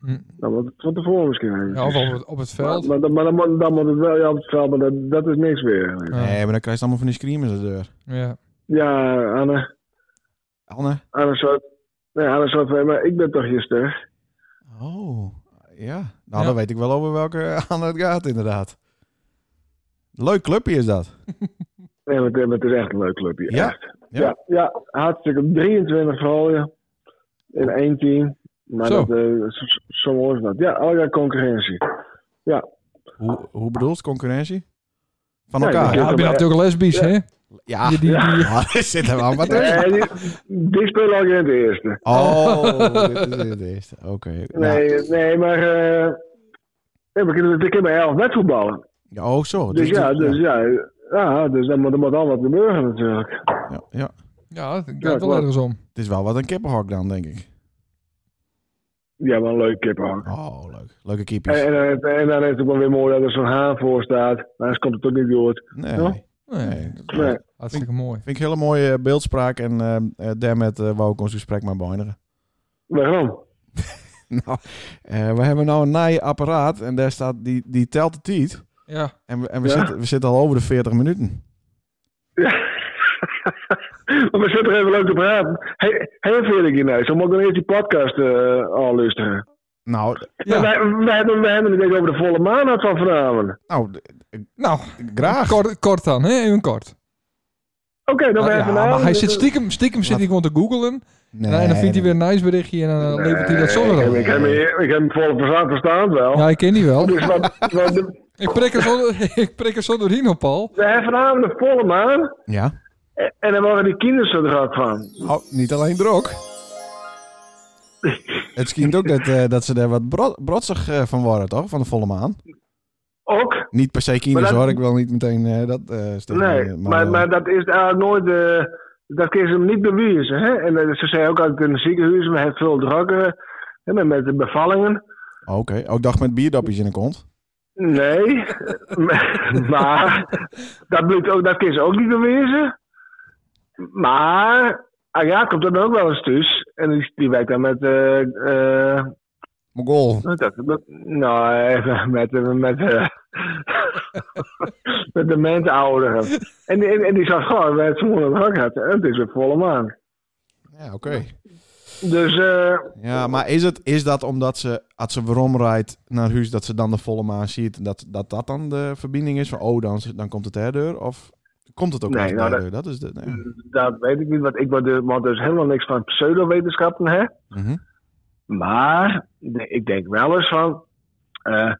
S2: Hm.
S6: Dan moet het van tevoren misschien even.
S2: Mhm. Ja, of op het, op het
S6: maar,
S2: veld.
S6: maar, dan- maar dan, moet, dan moet het wel ja, op het veld, maar dat, dat is niks weer.
S2: Ja.
S1: Nee, maar dan krijg je allemaal van die screamers aan de deur.
S2: Ja.
S6: Ja, Anne,
S1: Anne?
S6: Anne zou, nee, Anne zou maar ik ben toch je ster?
S1: Oh, ja. Nou,
S2: Ja.
S1: dan weet ik wel over welke Anne het gaat inderdaad. Leuk clubje is dat.
S6: Nee, maar, het- maar het is echt een leuk clubje,
S1: Ja?
S6: echt.
S1: Ja.
S6: Ja. ja, hartstikke 23 vrouwen in één team. Maar
S2: Zo.
S6: dat, eh, zo- zo- zo mooi is dat. Ja, allerlei concurrentie.
S1: Hoe, hoe bedoel je concurrentie? Van
S6: Ja,
S1: elkaar?
S6: je
S2: Ja,
S6: kunt
S2: ik ben
S6: hem- eh,
S2: natuurlijk lesbisch, hè?
S1: Ja,
S2: Die- die- die-
S1: Ah, er zit er wel wat tussen.
S6: Nee, die, die spelen al in het eerste.
S1: Oh, dit is het eerste. Oké. Nou,
S6: Nee, nee maar. eh nee, we kunnen natuurlijk maar elf met voetballen.
S1: ja, oh, zo.
S6: Dus
S1: dit-
S6: ja, dus ja. ja. dus dan moet, er moet al wat gebeuren natuurlijk.
S1: ja, ja.
S2: Ja, het gaat
S6: Ja,
S2: wel
S6: klopt.
S2: ergens om.
S1: Het is wel wat een kippenhok dan, denk ik.
S6: Ja, maar een leuk kippenhak.
S1: Oh, leuk. Leuke
S6: En,
S1: keepjes.
S6: en, dan is- en dan is het wel weer mooi dat er zo'n haan voor staat. Anders komt het ook niet door.
S1: Nee.
S6: Ja?
S2: Nee,
S1: nee, dat
S6: Nee.
S2: Hartstikke mooi.
S1: vind ik hele mooie beeldspraak. En eh, eh, daarmee eh, wou ik ons gesprek maar beëindigen.
S6: Waarom?
S1: Nou, eh, we hebben nou een naai apparaat. En daar staat, die, die telt de tijd.
S2: Ja,
S1: En we, en we,
S6: Ja.
S1: zitten, we zitten al over de 40 minuten.
S6: Ja. maar we zitten er even leuk te praten. Heel hey, veel ik nou. Zo moet ik dan eerst die podcast eh al luisteren.
S1: Nou,
S2: Ja.
S6: Maar Wij, wij, hebben, wij hebben het denk ik over de volle maand van vanavond.
S1: nou d-
S2: nou,
S1: graag.
S2: kort, kort dan, hè? Even kort.
S6: Oké, dan wij
S2: Ja,
S6: vanavond. dus
S2: maar hij zit stiekem, stiekem zit hij gewoon te googlen.
S1: Nee,
S2: en dan vindt hij
S1: nee.
S2: weer een nice berichtje en dan eh, levert hij dat
S6: Ik
S2: zo
S6: heb,
S2: op.
S6: ik heb, hem- ik heb hem vol verstaan, verstaan wel.
S2: Ja, ik ken die wel.
S6: Dus wat, wat,
S2: Ik prik er zo, ik prik er zo doorheen op, Paul.
S6: We hebben vanavond een volle maan.
S1: Ja.
S6: En- En dan waren die kinderen zo druk van.
S1: Oh, niet alleen drok. Het schijnt ook dat, eh, dat ze er wat bro brotsig eh, van worden, toch? Van de volle maan.
S6: Ook?
S1: Niet per se kines
S6: Maar dat-
S1: hoor, ik wil niet meteen eh, dat eh stellen,
S6: Nee, maar,
S1: eh,
S6: maar dat is eigenlijk nooit. eh, dat kun je ze hem niet eh, bewijzen. Hè? En eh, ze zei ook altijd in de ziekenhuizen, we hebben veel drukken. Hè, met, met de bevallingen.
S1: Oké. Ook dacht met bierdopjes in de kont.
S6: Nee, maar dat, blijkt ook, dat is ook niet bewezen. Maar ah ja, komt er dan ook wel eens thuis. En die, die werkt dan met, eh, eh,
S1: Mogol.
S6: wat is dat? Met- nou, eh, met, met, met, eh, met de mensouderen. En, die- en, en die zag gewoon, we hebben het vanmorgen ook gehad. En het is weer volle maan.
S1: Ja, oké.
S6: Dus eh,
S1: Ja, maar is, het, is dat omdat ze, als ze rondrijdt naar huis, dat ze dan de volle maan ziet, dat dat, dat dan de verbinding is? Van, oh, dan, dan komt het herdeur? Of komt het ook
S6: Nee,
S1: uit de
S6: nou,
S1: herdeur? Dat is de... Nee.
S6: dat weet ik niet, want ik word er- want er is helemaal niks van pseudowetenschappen, hè.
S1: Mhm.
S6: Maar de- ik denk wel eens van. eh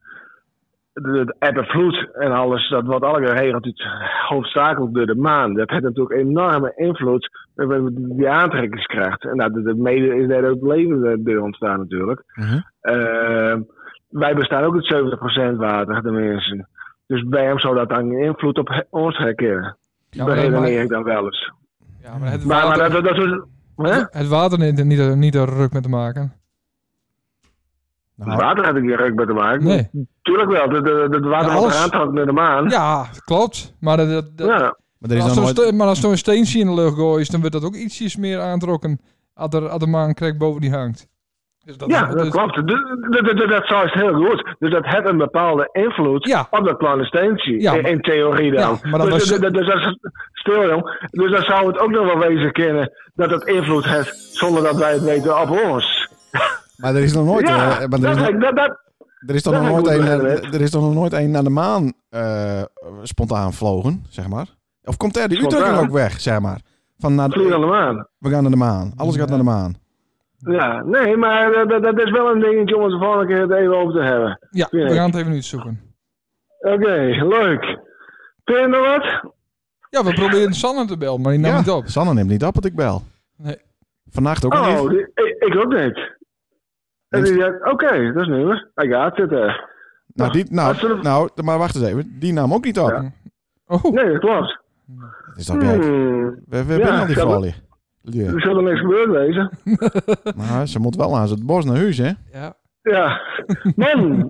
S6: de, de eb en vloed en alles, dat wordt allemaal geregeld uit- hoofdzakelijk door de maan. Dat heeft natuurlijk enorme invloed op die aantrekkingskracht. En dat, dat mede is daar ook leven eh, door ontstaan natuurlijk.
S1: Mhm.
S6: Eh, wij bestaan ook uit 70% water, de mensen. Dus bij hem zou dat dan invloed op he- ons herkennen.
S2: Ja,
S6: dat
S2: maar,
S6: redeneer
S2: maar-
S6: ik dan wel eens.
S2: ja, maar het
S6: Maar, maar
S2: water-
S6: dat, dat, dat is... Hè?
S2: het water heeft er niet, niet een ruk mee te maken.
S1: Nou,
S6: Water heb ik hier ruk bij te maken.
S2: Nee.
S6: Tuurlijk wel, dat- dat dat water
S2: Ja,
S6: wat
S2: alles.
S6: eraan trok naar de maan.
S2: Ja, klopt. Maar, dat, dat, dat-
S6: Ja,
S1: maar er is
S2: als
S1: dan
S2: zo'n
S1: nooit...
S2: ste- maar als zo'n steentje in de lucht gooit, dan wordt dat ook ietsjes meer aantrokken als er, als de maan krek boven die hangt. Dus dat,
S6: ja, dat
S2: dus-
S6: klopt. Dat, dat, dat, dat zou het heel goed. Dus dat heeft een bepaalde invloed
S2: Ja.
S6: op dat clandestinentie.
S2: Ja,
S6: in, in theorie dan.
S2: Ja, maar dat
S6: dus,
S2: was-
S6: dat, dat, dat- stil jong. Dus dan zou het ook nog wel wezen kunnen dat het invloed heeft zonder dat wij het weten op ons.
S1: Maar er is nog nooit...
S6: ja,
S1: eh, maar er,
S6: dat,
S1: is nog,
S6: dat, dat-
S1: er is toch nog
S6: dat
S1: nooit
S6: heb ik
S1: een...
S6: goed
S1: eh,
S6: begrepen.
S1: Er is toch nog nooit een naar de maan eh, spontaan vlogen, zeg maar? Of komt er die Utrecht
S6: Spontaan?
S1: ook weg, zeg maar? Van naar
S6: vliegen
S1: de,
S6: allemaal.
S1: we gaan naar de maan. Alles gaat naar de maan.
S6: Ja, nee, maar eh, dat- dat, dat is wel een dingetje om het de volgende keer het even over te hebben.
S2: ja,
S6: Ja.
S2: we gaan het even uitzoeken.
S6: Oké, leuk. Vind je nog wat?
S2: Ja, we proberen Sanne te bellen, maar die nam
S1: ja,
S2: niet op.
S1: Sanne neemt niet op dat ik bel.
S2: Nee.
S1: Vannacht ook
S6: Oh,
S1: niet.
S6: die- ik, ik ook niet. En die zegt, oké, dat is nieuw. I got it. eh.
S1: Nou, die, nou,
S6: Als ze-
S1: nou, maar wacht eens even. Die nam ook niet op.
S2: Oh,
S6: Nee, dat klopt.
S1: Dat is toch gek.
S6: Hmm,
S1: We, we hebben al die
S6: dat-
S1: vallen. Ja.
S6: er zal er niks gebeurd wezen.
S1: Maar ze moet wel aan het bos naar huis, hè?
S2: ja.
S6: Ja. Man,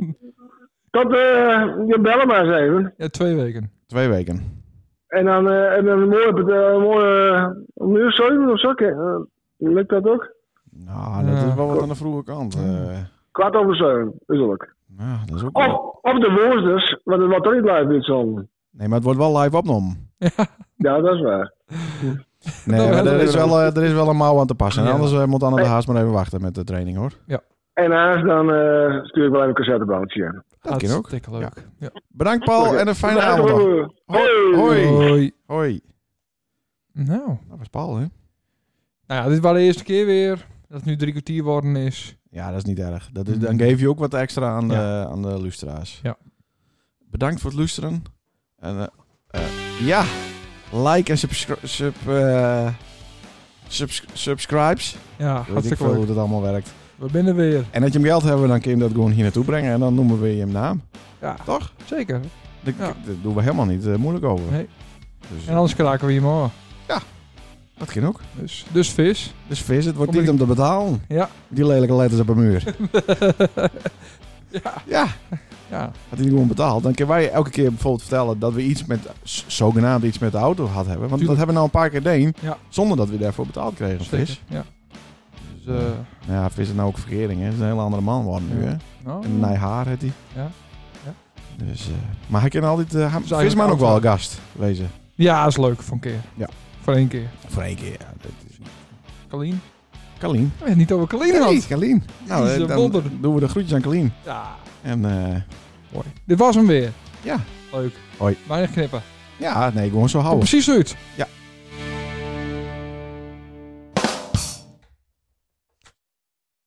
S6: tot eh, je bellen maar eens even.
S2: ja, twee weken.
S1: Twee weken.
S6: En dan, eh, en dan een mooie, een mooie eh, om een uur zeven of zo. ke- eh, lukt dat ook?
S1: Nou, dat
S2: Ja.
S1: is wel wat aan de vroege kant. eh.
S6: Kwart over zeven, is dat ook.
S1: nou, dat is ook wel-
S6: Of, of de woensdags, want het wordt toch niet live dit zon.
S1: Nee, maar het wordt wel live opgenomen.
S6: Ja, dat is waar.
S1: Nee,
S2: Nou,
S1: maar
S2: dat
S1: er is,
S2: is
S1: wel, eh, er is wel een mouw aan te passen. En
S2: Ja.
S1: anders eh, moet Anne de Haas maar even wachten met de training, hoor.
S6: En haast dan eh, stuur ik wel even een cassettebandje in.
S1: Dat kan ook.
S2: Hartstikke leuk. Ja.
S1: Bedankt, Paul. Oh, En een fijne
S6: Dag,
S1: avond nog.
S6: hoor.
S1: Hoi. Hoi.
S2: Hoi.
S1: Hoi.
S2: Nou, nou
S1: Dat was Paul, hè?
S2: ja, dit was de eerste keer weer dat het nu drie kwartier worden is.
S1: Ja, dat is niet erg. Dat is, dan geef je ook wat extra aan, de- aan de luisteraars.
S2: Mm. Ja.
S1: Bedankt voor het luisteren. En, eh, eh, ja, like en subscri sub, eh, subs- subscribes.
S2: Ja,
S1: Weet ik
S2: hartstikke
S1: veel
S2: leuk.
S1: hoe dat allemaal werkt.
S2: We binnen weer.
S1: En dat je hem geld hebben, dan kun je hem dat gewoon hier naartoe brengen. En dan noemen we je hem naam.
S2: Ja,
S1: Toch?
S2: zeker.
S1: Dat,
S2: Ja.
S1: dat doen we helemaal niet eh, moeilijk over.
S2: Nee.
S1: Dus,
S2: En anders kraken we je morgen.
S1: dat kan ook.
S2: Dus, dus vis.
S1: Dus vis, het wordt
S2: Kom
S1: niet om te betalen.
S2: Ja.
S1: Die lelijke letters op een muur. ja. Ja.
S2: Ja,
S1: Had hij niet gewoon betaald, dan kunnen wij elke keer bijvoorbeeld vertellen dat we iets met, z- zogenaamd iets met de auto had hebben. Want dat
S2: Tuurlijk.
S1: hebben we nou een paar keer deen,
S2: Ja.
S1: zonder dat we daarvoor betaald kregen. Vis.
S2: zeker. Ja. Dus, eh
S1: Nou ja, Vis is nou ook verkeering, hè. Het is een hele andere man geworden nu, hè.
S2: nou.
S1: Een nij haar heeft hij.
S2: Ja. Ja.
S1: Dus, eh, maar hij kan altijd... eh hij-
S2: Dus
S1: vis maar
S2: eigenlijk
S1: ook wel
S2: altijd-
S1: gast, wezen.
S2: Ja, is leuk voor een keer.
S1: Ja.
S2: Voor één keer.
S1: Voor één keer, ja. Dat is...
S2: Kalien.
S1: Kalien.
S2: We hebben het niet over Kalien
S1: Hey,
S2: gehad.
S1: Kalien. Nou,
S2: Jezus,
S1: eh, dan
S2: wonder.
S1: doen we de groetjes aan Kalien.
S2: Ja,
S1: En eh,
S2: mooi. Dit was hem weer.
S1: Ja.
S2: Leuk.
S1: Hoi.
S2: Weinig knippen.
S1: ja, nee, gewoon zo
S2: Komt
S1: houden.
S2: precies uit.
S1: Ja.